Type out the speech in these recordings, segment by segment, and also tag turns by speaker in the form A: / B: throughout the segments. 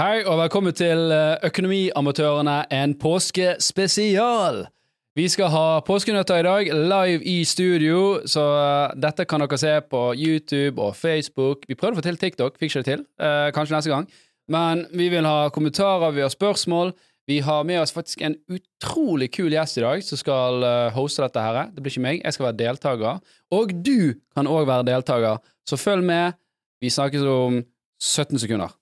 A: Hei og velkommen til eh, Økonomiamatørene, en påskespesial! Vi skal ha påskenøtter i dag, live i studio, så eh, dette kan dere se på YouTube og Facebook. Vi prøvde å få til TikTok, fikk ikke det til. eh, kanskje neste gang. Men vi vil ha kommentarer, vi har spørsmål. Vi har med oss faktisk en utrolig kul gjest i dag som skal eh, hoste dette her. Det blir ikke meg, jeg skal være deltaker. Og du kan òg være deltaker, så følg med. Vi snakkes om 17 sekunder.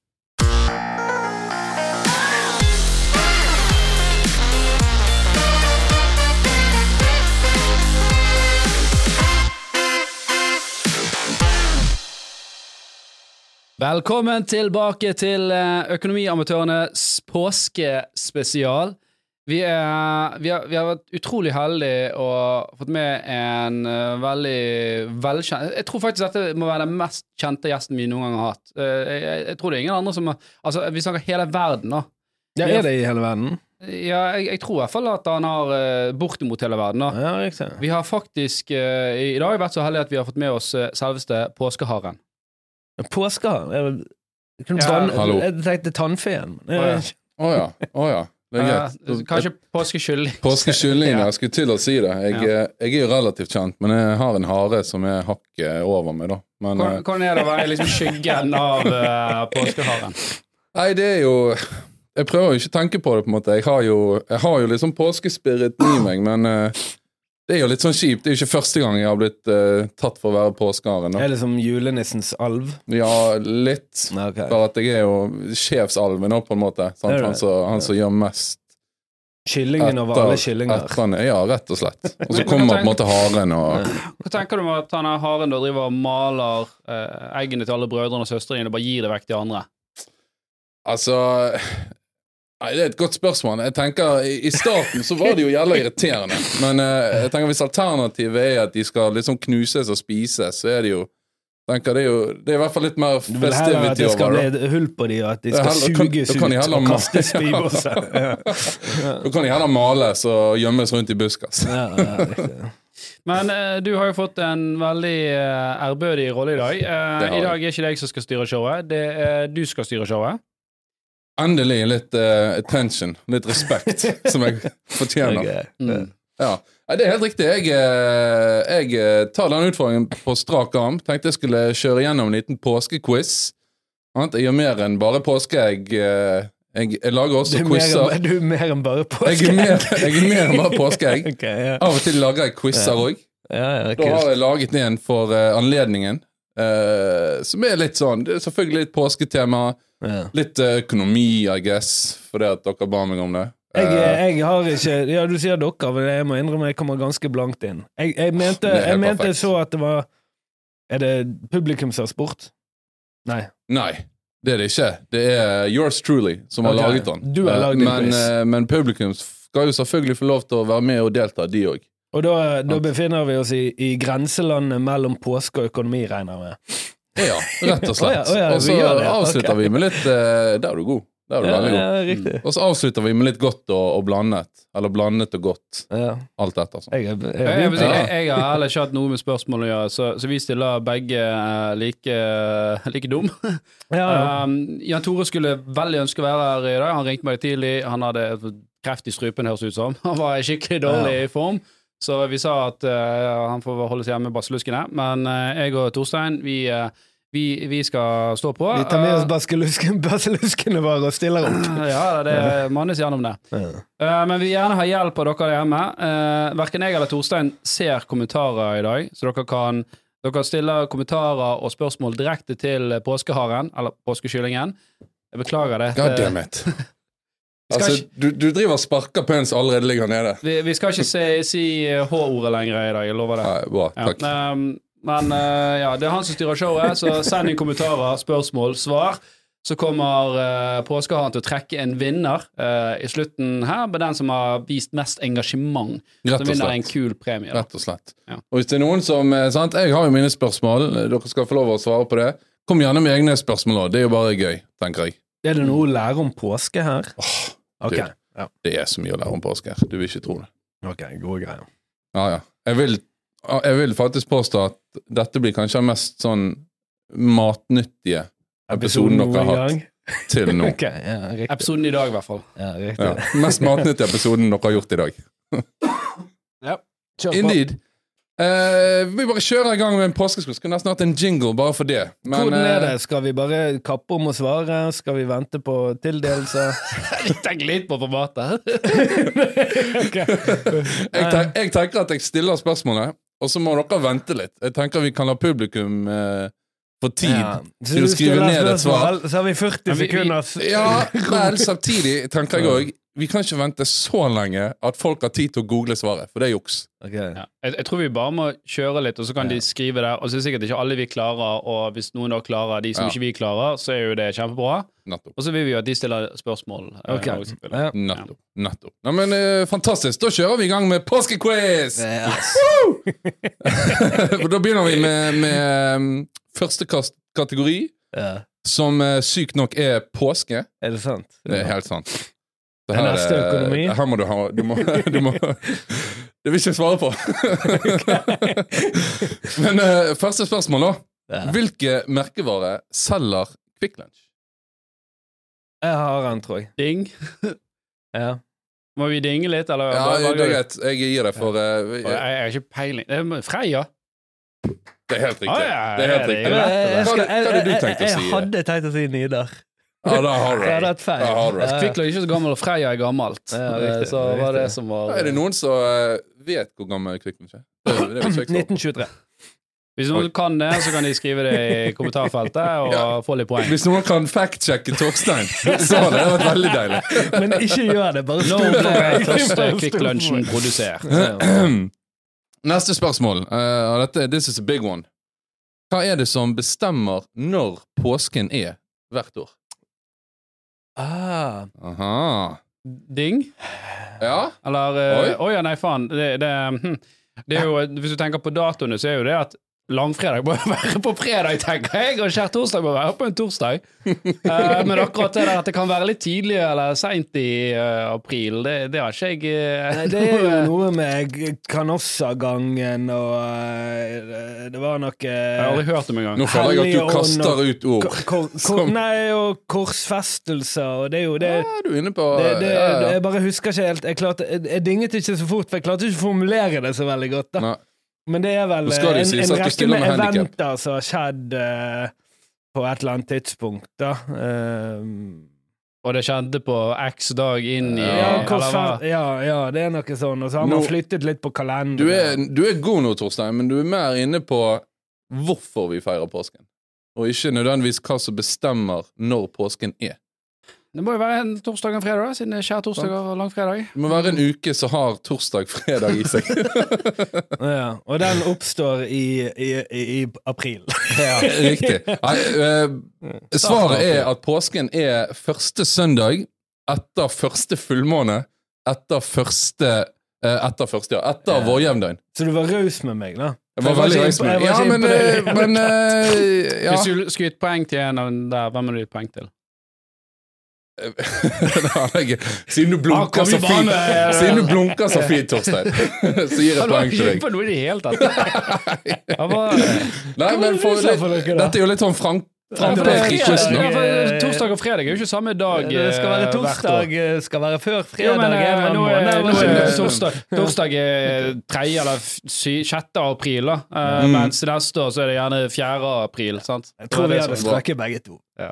A: Velkommen tilbake til eh, Økonomiamatørenes påskespesial. Vi, er, vi, har, vi har vært utrolig heldige og fått med en eh, veldig velkjent Jeg tror faktisk dette må være den mest kjente gjesten vi noen gang har hatt. Eh, jeg, jeg- jeg tror det er ingen andre som har Altså, vi snakker hele verden, da.
B: Ja, er det i hele verden?
A: Ja, jeg, jeg tror i hvert fall at han har eh, bortimot hele verden, da.
B: Ja, riktig.
A: Vi har faktisk eh, i i dag vært så heldige at vi har fått med oss eh, selveste påskeharen.
B: Påskeharen er- jeg kunne
A: Ja.
B: tann-
C: Hallo.
B: Jeg tenkte tannfeen. men
A: Å, ja.
B: jeg-
C: Å ja. å ja. Det er
A: Eh,
C: greit.
A: kanskje påskekylling.
C: Påskekylling,
A: Ja.
C: ja. jeg skulle til å si det. Jeg, eh,
A: Ja.
C: jeg er jo relativt kjent, men jeg har en hare som er hakket over meg, da. Men eh,
A: Hvordan hvordan er det å være liksom skyggen av eh, påskeharen?
C: nei, det er jo Jeg prøver jo ikke å tenke på det, på en måte. Jeg har jo, jeg har jo liksom påskespiriten i meg, men eh, det er jo litt sånn kjipt. Det er jo ikke første gang jeg har blitt eh, tatt for å være påskeharen. da.
B: Er det som julenissens alv?
C: Ja, litt.
B: Nei, ok.
C: Bare at jeg er jo sjefsalven nå, på en måte. Sant?
B: Det er det.
C: Han som han som gjør mest
B: Kyllingen over alle kyllinger.
C: etterne. Ja, rett og slett. Og så kommer på en måte haren og
A: Hva tenker du om at han her haren da driver og maler eh, eggene til alle brødrene og søstrene og bare gir det vekk til andre?
C: Altså Nei, det er et godt spørsmål. Jeg tenker, I i starten så var det jo jævla irriterende. Men eh, jeg tenker hvis alternativet er at de skal liksom knuses og spises, så er det jo tenker det er jo, det er i hvert fall litt mer
B: Du vil heller at
C: festivity
B: det skal
C: over
B: bli
C: det.
B: et hull på de, og at de
C: Det er
B: skal
C: heller- kan-
B: suges
C: da kan de
B: ut
C: heller
B: og
C: ma-
B: kastes i båset. Ja.
C: Da kan de heller males og gjemmes rundt i altså. buskas.
B: Ja, ja, riktig.
A: Men eh, du har jo fått en veldig eh, ærbødig rolle i dag. Eh,
C: Det har
A: I
C: jeg.
A: dag er ikke det jeg som skal styre showet, det er du skal styre showet.
C: Endelig litt eh, attention, litt respekt, som jeg fortjener.
B: Ok.
C: Ja. Nei, det er helt riktig. Jeg, eh, jeg eh, tar den utfordringen på strak arm. Tenkte jeg skulle kjøre gjennom en liten påskequiz. Sant? Jeg gjør mer enn bare påske. Jeg, eh, jeg, jeg lager
B: Du
C: også
B: er mer
C: quizer.
B: enn- Du er mer enn bare påske.
C: Jeg er mer, jeg er mer enn bare påske, jeg.
B: Ok, ja.
C: Av og til lager jeg quizer òg.
B: Ja, ja,
C: Da
B: kult.
C: har jeg laget en for eh, anledningen. eh, som er litt sånn Det er selvfølgelig litt påsketema.
B: Ja.
C: Litt eh, økonomi, I guess, fordi at dere ba meg om det.
B: Jeg,
C: Eh,
B: jeg har ikke Ja, du sier dere, men jeg må innrømme jeg kommer ganske blankt inn. Jeg, jeg mente,
C: Det er helt
B: jeg mente
C: perfekt.
B: så at det var Er det publikumsavsport? Nei.
C: Nei, det er det ikke. Det er yours truly som har
B: Ok,
C: laget den.
B: du har
C: Eh,
B: laget din
C: men,
B: quiz.
C: eh, men publikum skal jo selvfølgelig få lov til å være med og delta, de òg.
B: Og da, da
C: Sant.
B: befinner vi oss i, i grenselandet mellom påske og økonomi, regner jeg med.
C: Ja, rett og slett.
B: Å ja, å ja, vi
C: og så
B: gjør det, ja,
C: avslutter
B: ok.
C: vi med litt eh, Der er du god. Der er du
B: Ja,
C: veldig
B: ja,
C: god.
B: riktig.
C: Og så avslutter vi med litt godt og, og blandet. Eller blandet og godt.
B: Mm. Ja,
C: Alt etter sånn.
B: jeg, er- jeg,
A: Eh, Jeg, jeg, vil si,
B: ja.
A: jeg, jeg har ærlig ikke hatt noe med spørsmål å gjøre, så, så vi stiller begge eh, like, like dum.
B: Ja,
C: Ah.
B: ja.
A: Um, Jan Tore skulle veldig ønske å være her i dag. Han ringte meg tidlig. Han hadde kreft i strupen, høres det ut som. Han var i skikkelig dårlig
B: Ja.
A: i form. Så vi sa at eh, han får holde seg hjemme med basseluskene. Men eh, jeg og Torstein, vi, eh, vi, vi skal stå på.
B: Vi tar med oss basilusken- basiluskene våre og stiller opp.
A: Eh, ja, det mannes gjennom det.
B: Ja.
A: Eh, men vi vil gjerne ha hjelp av dere der hjemme. Uh, verken jeg eller Torstein ser kommentarer i dag, så dere kan dere stiller kommentarer og spørsmål direkte til påskeharen, eller påskekyllingen. Jeg beklager det. Eh,
C: God damn it.
B: Eh,
A: Skal
C: Altså, du, du driver og sparker på en som allerede ligger nede.
A: Vi, vi skal ikke si, si eh, H-ordet lenger i dag, jeg lover det.
C: Nei, bra.
A: Ja.
C: Takk.
A: ehm, men eh, ja, det er han som styrer showet, så send inn kommentarer, spørsmål, svar. Så kommer uh, påskeharen til å trekke en vinner eh, i slutten her, med den som har vist mest engasjement.
C: Rett
A: Som
C: og
A: vinner en
C: slett.
A: kul premie. Da.
C: Rett og slett.
A: Ja.
C: Og hvis det er noen som eh, sant, Jeg har jo mine spørsmål, eh, dere skal få lov å svare på det. Kom gjerne med egne spørsmål òg, det er jo bare gøy, tenker jeg.
B: Er det noe å lære om påske her? Ok,
C: dude.
B: ja.
C: Det er så mye å lære om påske her, du vil ikke tro det.
B: Ok, gode greier.
C: Ja, ja. Jeg vil, ja, jeg vil faktisk påstå at dette blir kanskje den mest sånn matnyttige episoden dere har hatt. til nå.
B: Ok, ja, riktig.
A: Episoden i dag, i hvert fall.
B: Ja, riktig.
C: Ja. Mest matnyttige episoden dere har gjort i dag.
B: Kjør på.
C: Indeed. Eh, vi bare kjører i gang med en påskeskuss. Skulle nesten hatt en jingle bare for det. Men,
B: Hvordan er
C: eh,
B: det? Skal vi bare kappe om å svare? Skal vi vente på tildelelse?
A: Tenk litt på formatet.
C: jeg, ten- jeg tenker at jeg stiller spørsmålet, og så må dere vente litt. Jeg tenker vi kan la publikum eh, få tid.
B: Ja.
C: Ja.
B: Så
C: Til å
B: du
C: skrive
B: stiller
C: ned et
B: spørsmål, Så har vi 40
A: Men vi- vi-
B: sekunders
C: men samtidig tenker jeg òg Vi kan ikke vente så lenge at folk har tid til å google svaret, for det er juks.
B: Ok.
A: Ja. Jeg, jeg tror vi bare må kjøre litt, og så kan de skrive der. Og så er det sikkert ikke alle vi klarer, og hvis noen da klarer de som
C: Ja.
A: ikke vi klarer, så er jo det kjempebra.
C: Nettopp.
A: Og så vil vi jo at de stiller spørsmål. eh,
B: Ok.
A: og så-
B: Ja.
C: Nettopp. Nettopp. Nei, men eh, Fantastisk. Da kjører vi i gang med påskequiz!
B: Yes.
C: For da begynner vi med, med um, første kast kategori,
B: Ja.
C: som eh, sykt nok er påske.
B: Er det sant?
C: Det er helt sant. Det
B: Den neste
C: er-
B: økonomi.
C: det Her må du ha du må, du må, Det vil ikke jeg svare på. Men eh, første spørsmål, da.
B: Ja.
C: Hvilke merkevarer selger Kvikk Lunsj?
B: Jeg har den, tror jeg.
A: Ding.
B: Ja.
A: Må vi dinge litt, eller?
C: Ja,
A: bare- bare-
C: det er greit. Jeg gir det for eh, vi-
A: Jeg jeg har ikke peiling. Det er med Freia?
C: Det er helt riktig.
A: Ah, ja,
C: Det er helt
A: det er
C: riktig.
A: jo
B: Jeg, jeg,
C: Hva
B: skal-
C: hadde- hva hadde du
B: jeg-
C: tenkt å
B: jeg-
C: si?
B: Jeg hadde tenkt å si Nidar.
C: Ja, da har du
B: Jeg hadde hatt
C: det.
B: feil.
C: Da har du det.
B: Ja.
A: Kvikk Lunsj er ikke så gammel, og Freia er gammelt.
B: Ja,
A: Eh,
B: riktig,
A: så var det
B: riktig.
A: som var
C: Er det noen som eh, vet hvor gammel Kvikk Lunsj er? Det er- det er jo ikke jeg klar over.
B: 1923.
A: Hvis noen kan det, så kan de skrive det i kommentarfeltet og
C: Ja.
A: få litt poeng.
C: Hvis noen kan fact-sjekke Torstein, så hadde det vært veldig deilig.
B: Men ikke gjør det. Bare
A: Nå
B: stå
A: ble
B: for
A: første
B: meg.
A: Kvikk Lunsjen produsert.
C: Neste spørsmål. eh, og dette, this is a big one. Hva er det som bestemmer når påsken er hvert år?
B: Ah,
C: Aha.
A: Ding?
C: Ja,
A: Eller eh, Oi, ja, nei, faen. Det, det, hm. det er jo, hvis du tenker på datoene, så er jo det at langfredag bør være på fredag, tenker jeg, og skjærtorsdag bør være på en torsdag. Eh, men akkurat det der at det kan være litt tidlig eller seint i eh, april, det, det har ikke jeg eh,
B: nei, det er jo noe med g- Canossa-gangen og eh, Det var noe
A: Jeg har aldri hørt om
C: nå
A: engang.
C: føler jeg at
B: Hellige
C: du kaster
B: ånd
C: ut ord.
B: Ko- ko- ko-
C: Som-
B: Nei, og korsfestelser, og det er jo det
C: Ja, du er inne på
B: det, det,
C: Ah, ja, ja.
B: Jeg bare husker ikke helt. Jeg, klarte, jeg, jeg dinget ikke så fort, for jeg klarte ikke å formulere det så veldig godt. da.
C: Nei.
B: Men det er vel
C: Nå
B: eh,
C: skal det
B: en,
C: sies
B: en
C: at du
B: rekke
C: stiller
B: med
C: med handicap.
B: eventer som har skjedd eh, på et eller annet tidspunkt, da. Ehm,
A: Og det kjente på x dag inn i
B: ja,
A: eller hva?
B: korsfer- ja, ja, det er noe sånn. Og så har man
C: Nå-
B: flyttet litt på
C: Du, er,
B: kalenderen.
C: du er god nå, Torstein, men du er mer inne på hvorfor vi feirer påsken. Og ikke nødvendigvis hva som bestemmer når påsken er.
A: Det må jo være en torsdag og en fredag, da, siden det er skjærtorsdag og langfredag.
C: Det må være en uke som har torsdag-fredag i seg.
B: Ja, og den oppstår i, i, i, i april.
C: Riktig. Nei, eh, svaret er at påsken er første søndag etter første fullmåne etter første eh, Etter første, ja. Etter vårjevndøgn.
B: Så du var raus med meg, da.
C: Jeg var veldig reis med Ja, men, eh, men eh, ja.
A: Hvis du skulle gitt poeng til en av den der, hvem har du gitt poeng til?
C: Det har jeg ikke. Siden du blunker
A: Ah, kom i
C: så fint,
A: bane!
C: Siden du blunker så fint, Torstein, så gir jeg
A: Han var
C: poeng til
A: ikke
C: deg.
A: på noe i det hele tatt. Han var...
C: Nei, men for,
B: Hva var det du sa for noe, da?
C: dette er jo litt sånn frank...
A: Ja, for det er
C: Frank
A: fredag.
C: Christensen.
A: Ja, for Torsdag og fredag er jo ikke samme dag
B: Det skal være
A: eh, hvert år.
B: torsdag, eh, skal være før
A: Jo,
B: fredag.
A: men
B: en eller
A: eh,
B: annen
A: nå er,
B: måned,
A: nå er
B: eller?
A: det torsdag, torsdag er 3. eller 6. april, da. Eh,
C: Mm.
A: mens neste år så er det gjerne 4. april. sant?
B: Jeg tror
A: Det
B: vi
A: er
B: hadde
A: sånn.
B: strøket begge to.
C: Ja,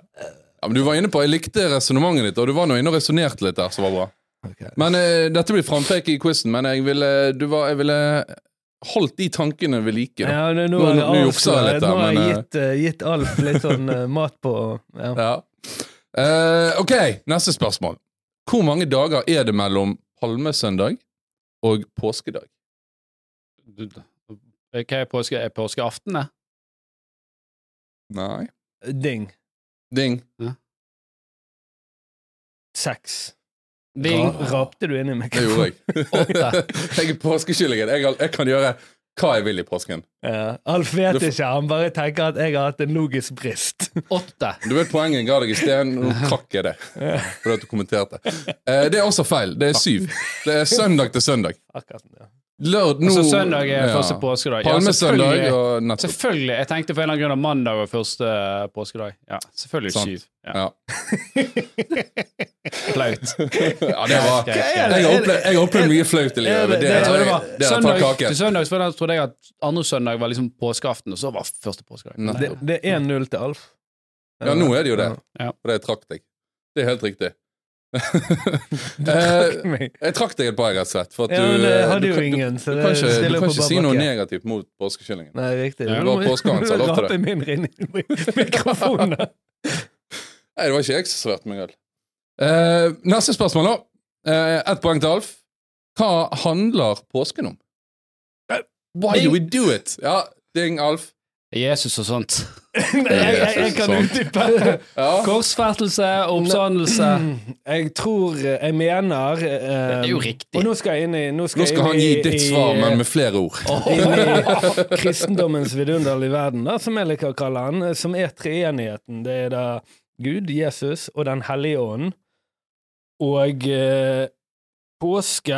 C: men du var inne på, Jeg likte resonnementet ditt, og du var nå inne og resonnerte litt der, som var bra. Men eh, Dette blir frampek i quizen, men jeg ville, du var, jeg ville holdt de tankene ved like. da.
B: Ja, nå, nå,
C: Nå-
B: er det
C: nå jukser jeg
B: avsløret.
C: litt her,
B: Nå har jeg
C: men, eh,
B: gitt, eh, gitt Alf litt sånn eh, mat på ja.
C: Ja. Eh, ok, neste spørsmål. Hvor mange dager er det mellom palmesøndag og påskedag?
A: sånn- Hva er påske? Er påskeaften, det?
C: Nei.
B: Ding.
C: Ding.
B: Seks.
A: Ding.
B: Ra- Rapte du inni meg?
C: Det gjorde jeg.
A: Åtte.
C: jeg er påskekyllingen. Jeg, har- jeg kan gjøre hva jeg vil i påsken.
B: Ja. Alf vet
C: Du får-
B: ikke, han bare tenker at jeg har hatt en logisk brist.
A: Åtte.
C: Du vet poenget jeg ga deg i sted, nå trakk jeg det. Fordi at du kommenterte. Eh, det er også feil. Det er syv. Det er søndag til søndag.
B: Akkurat, ja.
C: Lørd, nå,
A: Så Altså, søndag er
C: ja.
A: første påskedag. Ja,
C: Palmesøndag
A: selvfølgelig.
C: og nettopp.
A: Selvfølgelig. Jeg tenkte for en eller annen grunn at mandag var første eh, påskedag. Ja, selvfølgelig
C: Sant.
A: syv. Ja.
C: Ja.
A: Flaut.
C: ja, det var
A: Greit,
C: Jeg
A: greit.
C: har opplevd- jeg har opplevd mye flaut i
B: er
C: livet.
B: det-
C: Det
A: Jeg
C: er
A: trodde det var
C: det er et par
A: søndag,
C: kaker.
A: til søndag så da trodde jeg at andre søndag var liksom påskeaften, og så var første påskedag.
C: Nei.
B: Det, det er 1-0 til Alf.
C: Ja, nå er det jo det.
A: Ja.
C: Og det trakk deg. Det er helt riktig. Eh,
B: Du trakk meg.
C: Jeg trakk deg et par, rett og slett. For at
B: Ja, men
C: du,
B: det
C: eh,
B: hadde
C: du,
B: jo
C: kan-
B: ingen, så
C: Du
B: det
C: kan ikke,
B: stiller jeg
C: du kan
B: på
C: ikke si
B: bar
C: noe
B: bakke.
C: negativt mot påskekyllingen.
B: Nei, riktig.
A: Ja,
C: Det
B: Du
C: var
B: må-
C: påskehansen,
B: du må
C: jeg lovte
B: rape mindre inn i mikrofonen.
C: Nei, det var ikke jeg som svarte meg øl. Eh, neste spørsmål, da. Eh, Ett poeng til Alf. Hva handler påsken om?
B: Eh,
C: Why do we do it? Ja, ding, Alf.
A: Jesus og sånt.
B: Nei, jeg, jeg, jeg kan
C: Sånn.
B: utdype.
C: Ja.
A: Korsfestelse, oppstandelse.
B: Jeg tror eh, Jeg mener eh,
A: Det er jo riktig.
B: Og nå skal jeg inn i Nå skal,
C: Nå skal han gi ditt svar, men med
B: men
C: flere ord.
B: inn i kristendommens vidunderlige verden, da, som jeg liker å kalle han, eh, som er treenigheten. Det er da Gud, Jesus og Den hellige ånd. Og eh, påske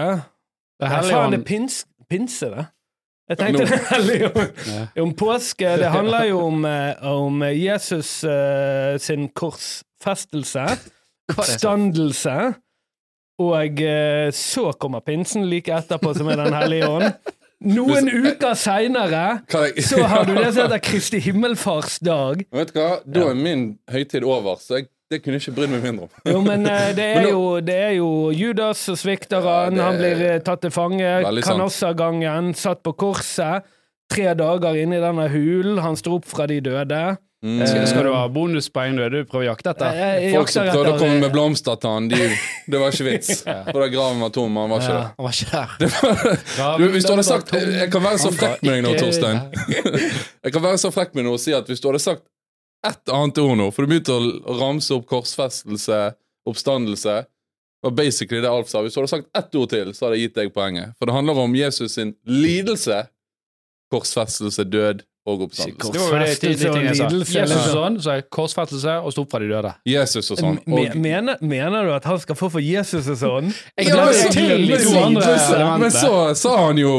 A: Det
B: Nei,
A: hellige
B: faen, det er
A: ånd.
B: pins, pinse, det. Jeg
C: Nå.
B: tenkte Den hellige ånd.
A: Ja.
B: Om påske Det handler jo om, eh, om Jesus eh, sin korsfestelse,
A: Hva er det sånn?
B: oppstandelse, og eh, så kommer pinsen like etterpå, som er Den hellige ånd. Noen uker seinere
C: Kan jeg-
B: så har du det som heter Kristi himmelfartsdag.
C: Vet du hva? Da er min høytid over, så jeg, det kunne jeg ikke brydd meg mindre om.
B: Jo, men eh, det er
C: Men nå-
B: jo, det er jo Judas som svikter
C: Ja,
B: han.
C: det
B: Han
C: er-
B: blir eh, tatt til fange.
C: Veldig sant.
B: Kanossagangen, satt på korset. Tre dager inne i denne hulen. Han sto opp fra de døde. Eh,
C: Mm.
A: Skal, skal du ha bonuspoeng når du prøver å jakte etter?
B: Jeg- jeg
C: Folk som
B: Eh, jakter
C: prøvde å
B: etter-
C: komme med blomster til han, de, det var ikke vits. For da graven var tom, han var ikke
A: Ja,
C: det.
A: Han var ikke der.
C: Du, hvis du hadde sagt eh, Jeg kan være så frekk med deg nå,
A: Ikke-
C: Torstein. Jeg kan være så frekk med deg og si at hvis du hadde sagt ett annet ord nå For du begynte å ramse opp korsfestelse, oppstandelse var basically det Alf sa. Hvis du hadde sagt ett ord til, så hadde jeg gitt deg poenget. For det handler om Jesus sin lidelse, korsfestelse, død og oppstandelse.
A: Det var jo det de- de tingene jeg sa.
B: Lidelse,
A: Jesus og
B: liksom.
A: sånn, så er korsfestelse og sto opp fra de døde.
C: Jesus og sånn.
B: Me-
C: Og
B: mener, mener du at han skal få for Jesus og sånn?
A: Jeg
C: Ja,
A: blander
C: men-
A: til de
C: men-
A: to andre
C: men- Men
A: elementene.
C: så sa han jo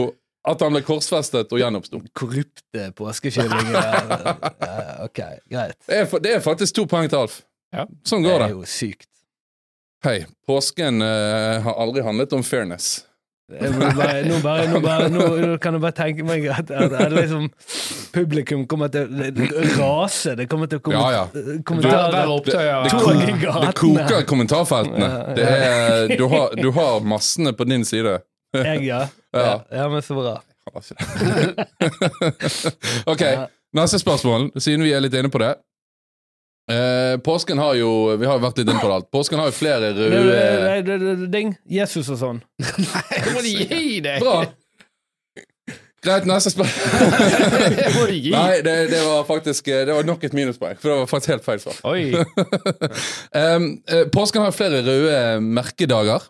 C: at han ble korsfestet og gjenoppsto.
B: Korrupte påskekyllinger. ja, ok, greit.
C: Det er, fa- det er faktisk to poeng til Alf.
A: Ja.
C: Sånn går det.
B: jo sykt.
C: Hei, påsken eh, har aldri handlet om fairness.
B: Jeg må bare, nå, bare, nå, bare, nå, nå kan jeg bare tenke meg at, at, at liksom publikum kommer til å rase. Det kommer til å komme
C: Ja, ja.
A: Hver
B: kommentarer.
A: opptøy av
C: det-
B: Tog i gatene.
C: Det koker i kommentarfeltene.
B: Ja, ja.
C: Det er, du, har, du har massene på din side.
B: Jeg, ja. ja.
C: Ja.
B: Ja, men så bra.
C: Jeg har ikke det. ok, neste spørsmål, siden vi er litt inne på det. Eh, påsken har jo Vi har jo vært litt inne på det alt. Påsken har jo flere
B: Det,
C: røde
B: det- det- det- ding. Jesus og sånn.
A: Jeg må de gi deg!
C: Bra! Greit, neste spørsmål.
A: Jeg må de gi.
C: Nei, det, det var faktisk eh, Det var nok et minuspoeng, for det var faktisk helt feil svar.
A: Oi.
C: Um, eh, påsken har flere røde merkedager.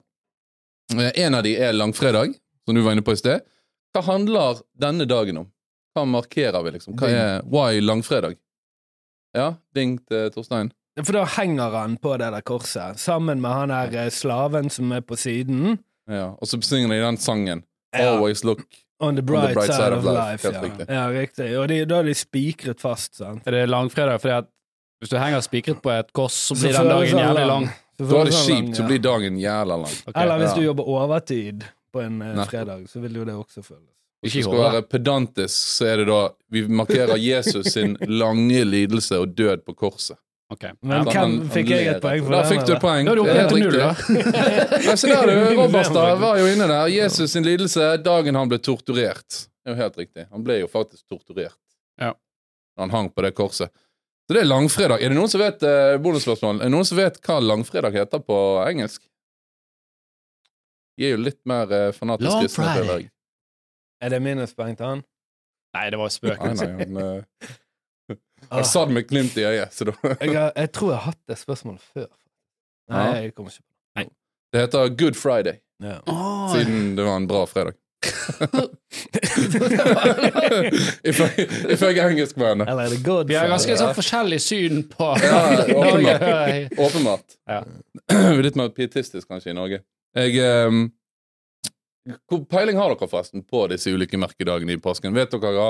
C: Eh, en av de er langfredag, som du var inne på i sted. Hva handler denne dagen om? Hva markerer vi, liksom? Hva er why langfredag? Ja, ding til Torstein.
B: For da henger han på det der korset, sammen med han her eh, slaven som er på siden.
C: Ja, og så synger de den sangen.
B: Ja.
C: Always look
B: On the bright, side, of life.
C: Helt riktig.
B: ja. ja, riktig. Og de, da er de spikret fast, sant.
A: Er det langfredag fordi at hvis du henger spikret på et kors, så
B: Så
A: blir
B: sånn,
A: den
B: føles
A: dagen
B: det
A: jævlig
B: lang.
A: lang?
B: Så
C: Da er det
B: føles han
C: kjipt,
B: lang,
C: så
B: sånn, ja.
C: blir dagen jævla lang.
A: Ok.
B: Eller hvis
C: ja.
B: du jobber overtid på en eh,
C: Nettopp.
B: fredag, så vil jo det også føles.
C: Hvis
A: Ikke i
C: du skal
A: hodet.
C: være pedantisk, så er det da Vi markerer Jesus sin lange lidelse og død på korset.
A: Ok.
B: Men
C: Så
B: hvem
C: han- han
B: fikk jeg
C: ler
B: et poeng for?
C: Da
B: den,
C: fikk du
B: eller?
C: et poeng.
A: Da er du oppe
C: Det er helt
A: til null,
C: riktig.
A: da.
C: Nei, se der, du. Robertstad
B: Robertstad
C: var jo inne der. Jesus sin lidelse, dagen han ble torturert. Det er jo helt riktig. Han ble jo faktisk torturert
A: Ja.
C: når han hang på det korset. Så det er langfredag. Er det noen som vet eh, bonusspørsmål? Er det noen som vet hva langfredag heter på engelsk? De er jo litt mer eh, fanatisk
A: Long
C: kristne. føler jeg.
B: Er det minuspoeng til han?
A: Nei, det var spøk.
C: Nei, nei, han, eh,
B: Ah,
C: han sa det med glimt i øyet. Så da.
B: jeg, har- jeg tror jeg har hatt det spørsmålet før. Nei,
C: Ja.
B: jeg kommer ikke på
C: Det heter Good Friday,
B: det. Ja.
A: Åh,
C: siden det var en bra fredag. Ifølge ifølge engelskmennene.
B: Eller The
A: Vi har ganske
B: Godfather.
A: sånn forskjellig syn på
C: Ja,
A: Norge.
C: åpenbart. Åpenbart.
A: Ja.
C: Litt mer pietistisk kanskje i Norge. Jeg, ehm, hvor peiling har dere forresten på disse ulike merkedagene i påsken? Vet dere hva,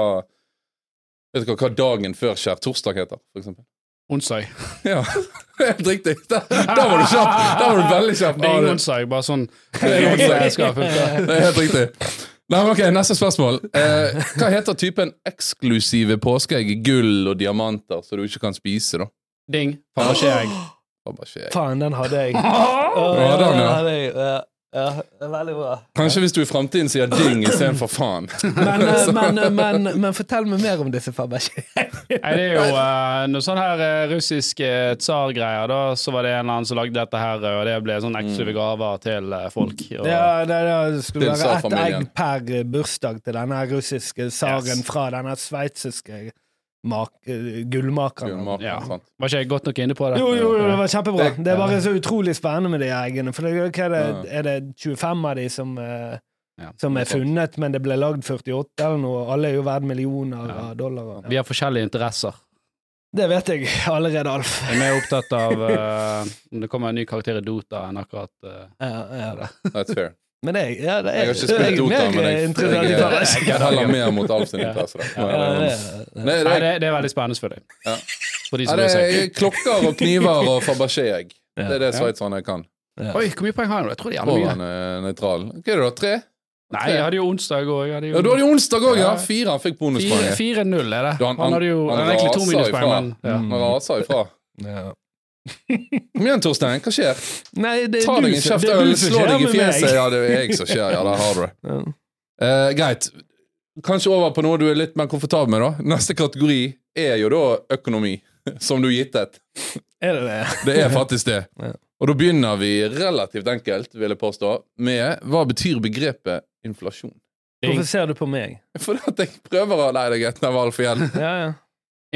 C: vet dere hva dagen før skjærtorsdag heter, for eksempel?
A: Onsdag.
C: Ja, helt riktig! Der, der var du kjapp! Der var du veldig kjapp.
A: Det er
C: Ja,
A: ingen
C: det-
A: onsdag, bare sånn
C: det er ingen onsdag.
A: Jeg skal funke.
C: Det er helt riktig. Nei, men ok, Neste spørsmål. Eh, hva heter typen eksklusive påskeegg i gull og diamanter så du ikke kan spise? da?
A: Ding. Parasjeegg.
C: Fabergé.
B: Faen, den hadde jeg.
C: Å, ja, den, ja.
B: hadde jeg. Ja, ja, det er veldig bra.
C: Kanskje hvis du i framtiden sier ding istedenfor faen.
B: Men, eh, men, eh, men, men fortell meg mer om disse Fabergé.
A: Nei, det er jo eh, noe sånn her eh, russisk eh, tsargreier, da. Så var det en eller annen som lagde dette her, og det ble sånn
C: Mm.
A: eksklusive gaver til eh, folk. Og,
B: Ja, det, det skulle
C: Til
B: være ett
C: tsarfamilien.
B: egg per bursdag til denne russiske tsaren
A: Yes.
B: fra denne sveitsiske mak- eh, gullmakeren.
C: Gullmaker,
A: Ja.
C: sant?
A: Var ikke jeg godt nok inne på det?
B: Jo, jo, jo, det var kjempebra.
C: Det-
B: Det er bare så utrolig spennende med de eggene. For det, hva er, det, er det 25 av de som, eh,
A: Ja.
B: som er funnet, men det ble lagd 48 eller noe? Alle er jo verdt millioner av dollar.
A: Vi har forskjellige interesser.
B: Det vet jeg allerede, Alf.
A: Jeg er mer opptatt av eh, om det kommer en ny karakter i Dota enn akkurat eh,
B: Ja, ja.
C: That's fair.
B: Men det, ja, det er,
C: Jeg har ikke spilt Dota, men jeg, jeg,
B: interessant i
C: jeg,
B: Fabergé.
C: jeg heller mer mot Alf sin interesse. da. Må jeg
B: Ja,
C: innrømme.
B: det er-
C: Nei, det
A: Nei,
C: er,
A: det, det er veldig spennende for deg.
C: Ja.
A: For de
C: nei,
A: som
C: det
A: bryr seg.
C: er klokker og kniver og Fabergé-egg. Det er det sveitserne kan.
A: Oi, hvor mye poeng har jeg nå? Jeg tror de hadde
C: Og
A: mye.
C: han er nøytral. Hva er det, da? Tre?
A: Nei, jeg hadde jo onsdag òg.
C: Ja, Du hadde jo onsdag òg, ja!
A: Ja.
C: Fire han fikk bonuspoeng.
A: 4-0 er det.
C: Du, han-
A: Han, hadde jo
C: han-
A: han,
C: han
A: hadde egentlig to
C: raser
A: minuspoeng,
C: ifra. Mm.
A: men ja.
C: Han raser ifra.
B: Ja.
C: Kom igjen, Torstein. Hva skjer?
B: Nei, det er
C: Ta
B: du
C: deg en
B: som-
C: kjeft
B: det er
C: øl,
B: du som
C: slå deg i
B: skjer med
C: fjeset.
B: meg.
C: Ja, det er jeg som skjer. Ja, der har du det. Eh, greit. Kanskje over på noe du er litt mer komfortabel med, da. Neste kategori er jo da økonomi. Som du gittet.
B: Er det det?
C: Det er faktisk det.
B: Ja.
C: Og da begynner vi relativt enkelt, vil jeg påstå, med hva betyr begrepet inflasjon?
B: Hvorfor ser du på meg?
C: Fordi at jeg prøver å Nei, det er greit, det var altfor gjeld.
B: Ja, ja.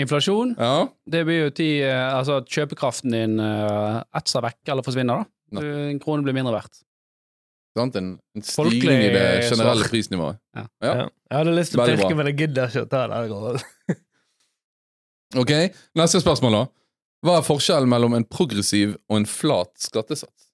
A: Inflasjon,
C: Ja,
A: det blir jo ti eh, Altså at kjøpekraften din eh, etser vekk eller forsvinner, da.
C: Nei.
A: Du, en krone blir mindre verdt.
C: sant? En, en
A: Folkelig
C: stigning i det generelle
A: svar.
C: prisnivået. Ja.
B: ja. Jeg hadde lyst til å
C: Veldig
B: pirke,
C: bra.
B: men jeg gidder ikke å ta det. her.
C: Ok, Neste spørsmål, da. Hva er forskjellen mellom en progressiv og en flat skattesats?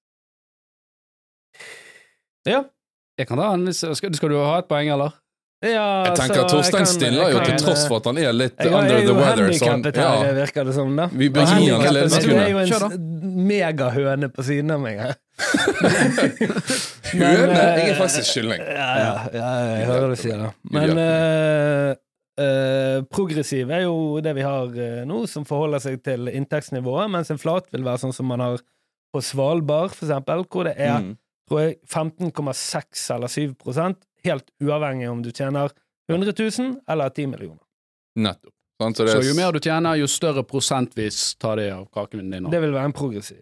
A: Jeg kan ta en hvis skal, skal du ha et poeng, eller?
B: Ja,
C: Jeg tenker
B: så
C: Torstein stiller jo
A: kan-
C: til tross for at han er litt
B: eh, jeg, kan- jeg,
C: under
B: er
C: the
B: jo
C: weather. Sånn,
B: handikappet her,
C: ja,
B: virker det som. da
C: vi bør gi han en
B: Handikappet,
A: ledende
B: Du
A: sekund.
B: er
C: ledesekund.
B: jo en
A: Kjør da.
B: s- megahøne på siden av meg her. Men,
C: Høne?
B: eh,
C: Jeg er faktisk et kylling.
B: Ja, ja, ja, jeg hører du sier det. Men eh, eh, progressiv er jo det vi har eh, nå, som forholder seg til inntektsnivået, mens en flat vil være sånn som man har på Svalbard, for eksempel, hvor det er
C: Mm.
B: tror jeg, 15,6 eller 7 helt uavhengig om du tjener 100 000 eller 10 millioner.
C: Nettopp. Sant, så det
A: Så
C: er,
A: jo mer du tjener, jo større prosentvis tar de av kaken din.
B: Det vil være en progressiv.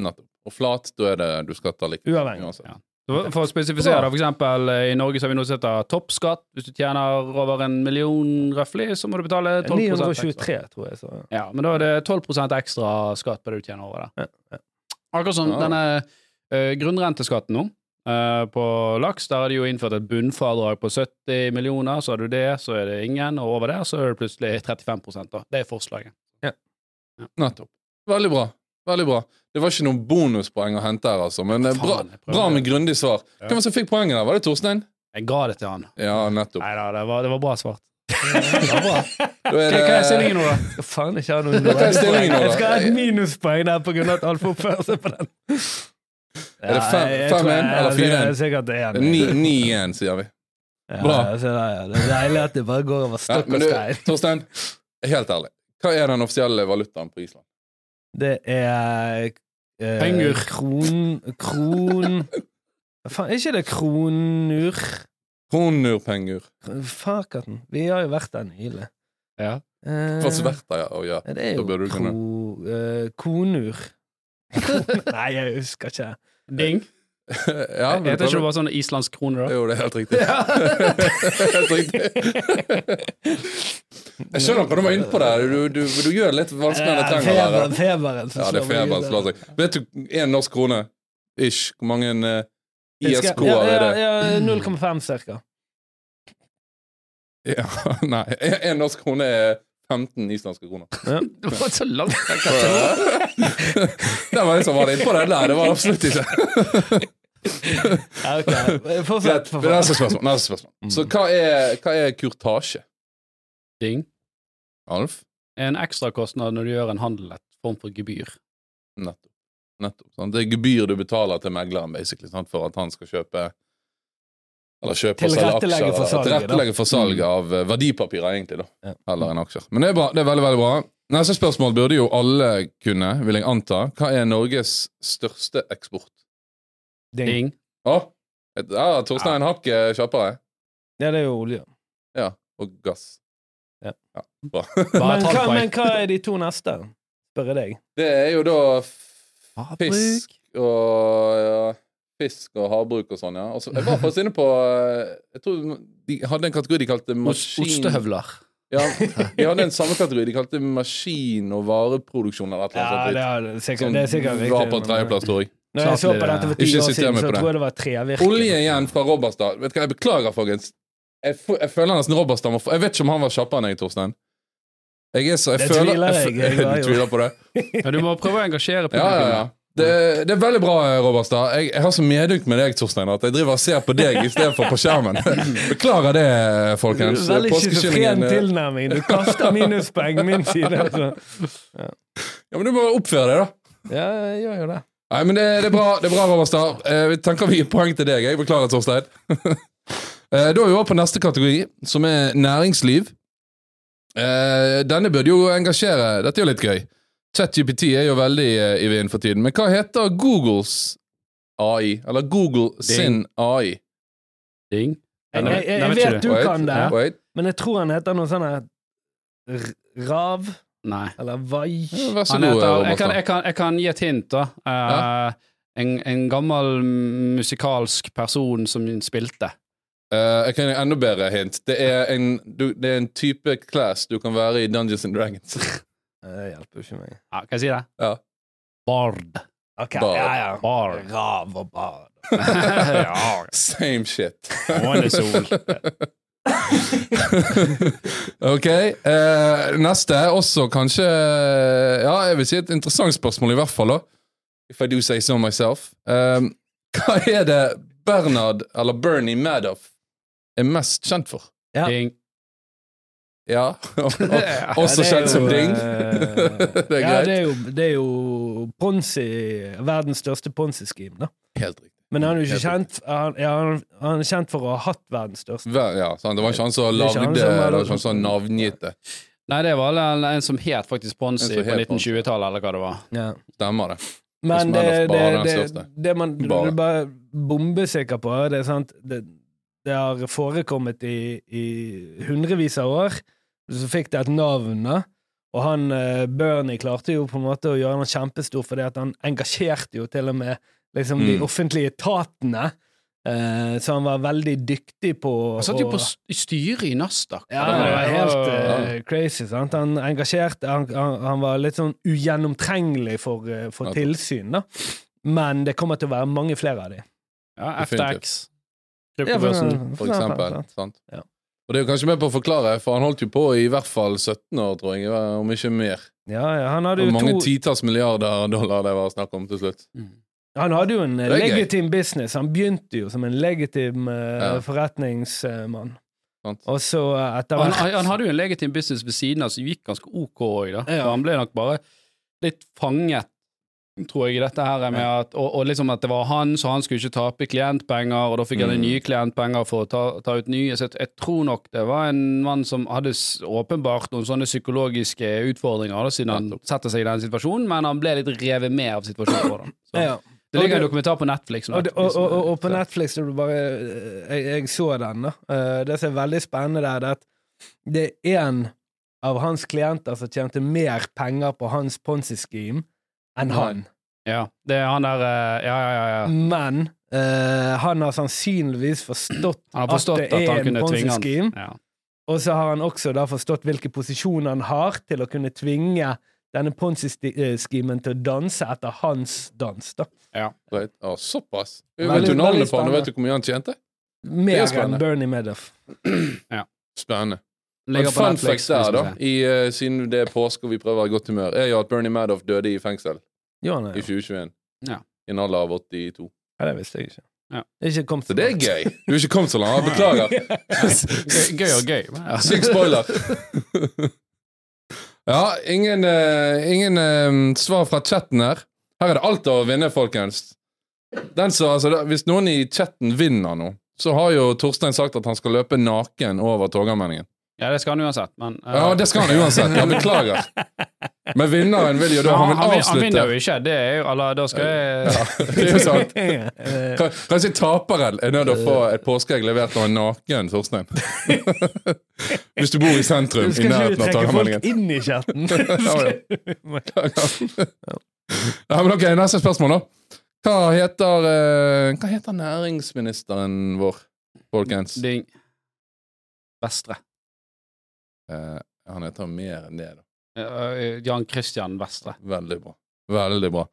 C: nettopp. Og flat, da er det du skatter likt.
B: Uavhengig.
C: uansett.
A: Ja. For for å spesifisere, da, for eksempel eh, i Norge så har vi noe som heter toppskatt. Hvis du tjener over en million røftlig, så må du betale 12 ekstra.
B: 923, tror jeg. Så.
A: Ja, men da er det 12 ekstra skatt på det du tjener over det. Akkurat som
C: Ja.
A: denne eh, grunnrenteskatten nå. eh, på laks der har de jo innført et bunnfradrag på 70 millioner. Så har du det, så er det ingen, og over der så er det plutselig 35 da. Det er forslaget.
C: Nettopp. Veldig bra. Veldig bra. Det var ikke noen bonuspoeng å hente her, altså, men eh, bra,
A: Faen, jeg prøvde.
C: bra med grundig svar.
A: Ja.
C: Hvem var det som fikk poenget der? Var det Torstein?
A: Jeg ga det til han.
C: Ja, nettopp.
A: Nei da, det, var- det var bra svart. Det var bra.
C: Da
A: Hva
C: er
A: hva er
C: det
A: stillingen nå, da?
B: Skal Eh, faen ikke ha noen
C: er stillingen nå, da?
B: Jeg skal ha et minuspoeng der på grunn av at Alf oppfører seg på den.
C: Er det fem-
B: Ja, jeg- jeg
C: fem
B: tror jeg-
C: en, eller
B: jeg-
C: fire
B: jeg-
C: en?
B: jeg er Sikkert det er en.
C: 9-1, sier vi.
B: Ja,
C: Bra.
B: jeg ser det, ja. Det er deilig at det bare går over
C: Ja,
B: stokk
C: men
B: og
C: du,
B: stein.
C: Torstein, helt ærlig. Hva er den offisielle valutaen på Island?
B: Det er eh,
A: Pengur.
B: Kron... Kron... Faen, er ikke det kronur?
C: Kronurpengur.
B: Fakaten. Vi har jo vært der nylig.
A: Ja.
B: Eh,
C: Hva som verdt det er å gjøre?
B: ja, det er
C: Da bør du
B: jo kro... eh, konur. Nei, jeg husker ikke.
A: Ding.
C: Ja,
A: Heter
C: vil du
A: ikke
C: ta
A: det bare sånn islandsk krone, da?
C: Jo, det er helt riktig. helt riktig. Jeg skjønner hva du må inn på der. Du, du, du gjør det litt vanskeligere enn det trenger å
B: Eh, Feber,
C: være.
B: feberen som
C: Ja, det er
B: slår meg
C: feberen
B: ut.
C: som slår seg. Vet du, én norsk krone ish, hvor mange eh,
B: Husker-
C: ISK
B: ja,
C: er
B: ja,
C: det.
B: ja, 0,5 cirka.
C: Ja, nei. En- En norsk krone er 15 islandske kroner.
A: Det var så langt vekk.
C: Det var jeg som var inne på det der. Det var absolutt ikke
B: Ja, ok. Fortsett.
C: Greit.
B: for faen.
C: men altså- Neste spørsmål. Neste spørsmål.
B: Mm.
C: Så hva er, hva er kurtasje,
A: Ding.
C: Alf?
A: En ekstrakostnad når du gjør en handel, et form for gebyr.
C: Nettopp. Nettopp sant? Det er gebyr du betaler til megleren basically, sant? for at han skal kjøpe Eller kjøpe og selge aksjer.
B: Tilrettelegge for
C: eller
B: salget, da. Mm.
C: Tilrettelegge for salget av eh, verdipapirer, egentlig, da.
B: Ja.
C: Heller enn aksjer. Men det er bra. Det er veldig, veldig bra. Neste spørsmål burde jo alle kunne, vil jeg anta. Hva er Norges største eksport?
B: Ding.
A: Ding.
C: Å! et- Ja, Torstein Hakk er kjappere.
B: Ja, det er jo olje.
C: Ja. Og gass.
B: Ja.
C: Bra.
A: Bare et
B: Men hva,
A: halvt
B: men
A: poeng.
B: hva er de to neste? Spør jeg deg.
C: Det er jo da f- fisk og ja, Fisk og havbruk og sånn, ja. Og så- jeg var faktisk inne på eh, Jeg tror de hadde en kategori de kalte
A: Os-
C: maskin...
A: Ostehøvler.
C: Ja, de hadde en samme kategori. De kalte maskin- og vareproduksjon eller et
B: Ja, det
C: eller annet.
B: er det sikkert,
C: sånt dritt.
B: det er sikkert
C: Som var Sånn, på
B: men- eh,
C: tredjeplass, tror jeg.
B: Når jeg så på
A: Klart
B: dette for
C: Ikke
B: ti år
C: sitter jeg
B: siden,
C: med
B: så
C: på det.
B: tror jeg det var trevirke.
C: Olje igjen fra Robberstad. Vet du hva, jeg beklager, folkens. Jeg, f jeg føler nesten Robberstad må få Jeg vet ikke om han var kjappere enn jeg, Torstein. Jeg er så Jeg
B: Det
C: føler
B: tviler jeg, jeg var
C: Du
B: jo-
C: tviler på det?
A: Ja, du må prøve å engasjere
C: Ja, ja, ja.
A: publikum.
C: Det, det er veldig bra, Robertstad. Jeg, jeg har så medynk med deg, Torstein, at jeg driver og ser på deg istedenfor på skjermen. Beklager det, folkens.
B: Veldig schizofren
C: Påskekyllingen eh,
B: tilnærming. Du kaster minuspoeng min side. Altså.
C: Ja, men du må oppføre deg, da.
B: Ja, jeg gjør jo det.
C: Nei, men det, det er bra, det er bra Robertstad. Eh, vi tenker vi gir poeng til deg. Jeg beklager, Torstein. eh, da er vi over på neste kategori, som er næringsliv. Eh, denne burde jo engasjere. Dette er jo litt gøy. ChatGPT er jo veldig eh, i vinden for tiden. Men hva heter Googles AI? Eller Google sin AI?
A: Ding.
B: Jeg, jeg, jeg,
A: Nei, vet ikke
B: vet
A: du.
B: du kan det,
C: Wait.
B: men jeg tror han heter noe sånn her R- Rav
A: Nei.
B: eller Vai.
C: Ja, Vær så
A: Han
C: god,
A: heter, jeg,
C: Robertstad.
A: kan, jeg, kan, jeg kan gi et hint, da. Eh, en, en gammel musikalsk person som spilte.
C: Eh, jeg kan gi enda bedre hint. Det er, en, du, det er en type class du kan være i Dungeons and Dragons.
B: Det hjelper jo ikke meg.
A: Ja, kan jeg si det?
C: Ja.
A: Bard.
B: Ok,
C: Bard.
B: ja, ja.
A: Bard.
B: Rav og Bard.
A: ja.
C: Same shit.
A: Månesol.
C: ok. eh, neste er også kanskje Ja, jeg vil si et interessant spørsmål, i hvert fall. da If I do say so myself. Eh, hva er det Bernard, eller Bernie Madoff, er mest kjent for?
B: Ja.
A: Ding.
C: Ja.
B: Ja,
C: også
B: det er
C: kjent som
B: jo,
C: ding.
B: eh,
C: det er
B: Ja,
C: greit.
B: det er jo, det er jo Ponzi, verdens største Ponzi-scheme, da.
C: Helt riktig.
B: Men han er jo
C: Helt
B: ikke kjent han, ja, han, han er kjent for å ha hatt verdens største.
C: Ver- Ja, sant? Det var ikke han som
B: Det er ikke han
C: lagde
B: som
C: Det
B: lagde-
C: var ikke han som navngitt det.
A: Nei, det var en, en som het faktisk
C: En
A: Ponzi
C: som
A: på
C: het
A: 1920-tallet, eller hva det var.
B: Ja.
C: Stemmer det.
B: Men det,
C: Hvis man er
B: det,
C: bare
B: det,
C: den
B: det,
C: største.
B: man du
C: Bare.
B: er bare bombesikker på, det er sant Det, det har forekommet i, i hundrevis av år. Så fikk det et navn, da. Og han eh, Bernie klarte jo på en måte å gjøre han kjempestor, fordi at han engasjerte jo til og med liksom, de
C: Mm.
B: offentlige etatene. Eh, så han var veldig dyktig på
A: Han satt jo
B: å-
A: på s- i styret i Nasdaq.
B: Ja,
A: Det var-
B: det var helt
A: Ja.
B: eh, crazy. sant? Han engasjerte han, han, han var litt sånn ugjennomtrengelig for, eh, for
C: Ja.
B: tilsyn, da. Men det kommer til å være mange flere av de.
A: Ja,
C: definitivt.
A: FTX. Kryptobørsen.
C: For eksempel. Sant?
B: Ja.
C: Og det er jo kanskje med på å forklare, for han holdt jo på i hvert fall 17 år, tror jeg, om ikke mer.
B: Ja, ja, han hadde
C: Og
B: jo
C: mange
B: to
C: titalls milliarder dollar det var snakk om til slutt.
B: Mm. Han hadde jo en eh,
C: Det er gøy.
B: legitim business. Han begynte jo som en legitim eh,
C: Ja.
B: forretningsmann.
C: Sant?
B: Og så eh, etter
A: Han,
B: hvert
A: han han hadde jo en legitim business ved siden av som gikk ganske ok òg, da.
B: Ja.
A: Så han ble nok bare litt fanget, tror jeg, i dette her med at og, og liksom at det var han, så han skulle ikke tape klientpenger, og da fikk han
C: Mm.
A: mm. nye klientpenger for å ta, ta ut nye. Så jeg, jeg tror nok det var en mann som hadde s- åpenbart noen sånne psykologiske utfordringer, da, siden han setter seg i den situasjonen, men han ble litt revet med av situasjonen for dem. Så.
B: ja.
A: Det ligger
B: Og
A: en
B: det-
A: dokumentar på Netflix. nå,
B: Og, og,
A: som-
B: og, og, og på Netflix er det bare eh, jeg, jeg så den, da. Eh, Det som er veldig spennende, der, det er at det er én av hans klienter som tjente mer penger på hans Ponzi-scheme enn han.
A: Ja, det er han der eh, Ja, ja, ja. ja.
B: Men eh, han har sannsynligvis forstått,
A: Han har forstått at,
B: at det er
A: han
B: en
A: kunne tvinge han.
B: Ponzi-scheme.
A: Ja.
B: Og så har han også da forstått hvilke posisjoner han har til å kunne tvinge denne ponzi-skimen til å danse etter hans dans. da.
C: Right. Å, såpass.
B: Veldig-
C: vet du
B: veldig
C: navnet på han,
B: spennende.
C: og vet du hvor mye han tjente?
B: Mer
C: Det er spennende.
B: enn Bernie Madoff.
C: Spennende.
A: Ligger
C: Men
A: på
C: fun
A: Netflix,
C: fact der,
A: hvis
C: da,
A: man ser.
C: i, eh, siden det er påske og vi prøver å være i godt humør, er jo at Bernie Madoff døde i fengsel
B: Jo, nei,
C: i 2021.
A: Ja.
C: I en alder av 82.
B: ja, det visste jeg ikke.
A: Ja.
B: Det er ikke kommet
C: Så det er gøy! Du er ikke kommet så langt. Beklager.
A: Gøy- Gøy og gøy. men ja.
C: Syk spoiler. ja, ingen, eh, ingen eh, svar fra chatten her. Her er det alt å vinne, folkens. Den som- altså, da- hvis noen i chatten vinner nå, så har jo Torstein sagt at han skal løpe naken over Torgallmenningen.
A: Ja, det skal han uansett, men eh,
C: Ja, det skal han uansett. Jeg beklager. Men vinneren vil jo da Han
A: han,
C: vil
A: han, han vinner jo
C: avslutte.
A: ikke. Det er jo, eller, da skal jeg
C: Det er jo sant.
B: Eh,
C: Kan- Kanskje taperen er nødt til å få et påskeegg levert av en naken Torstein. Hvis du bor i sentrum, i
B: Skal ikke du
C: nærheten av
B: trekke
C: Torgallmenningen.
B: folk inn i chatten?
C: Ja, men ok, Neste spørsmål, da. Hva heter, eh, hva heter næringsministeren vår, folkens?
A: Ding. Vestre.
C: Eh, han heter mer enn det, da.
A: Eh, Jan Christian Vestre.
C: Veldig bra. Veldig bra.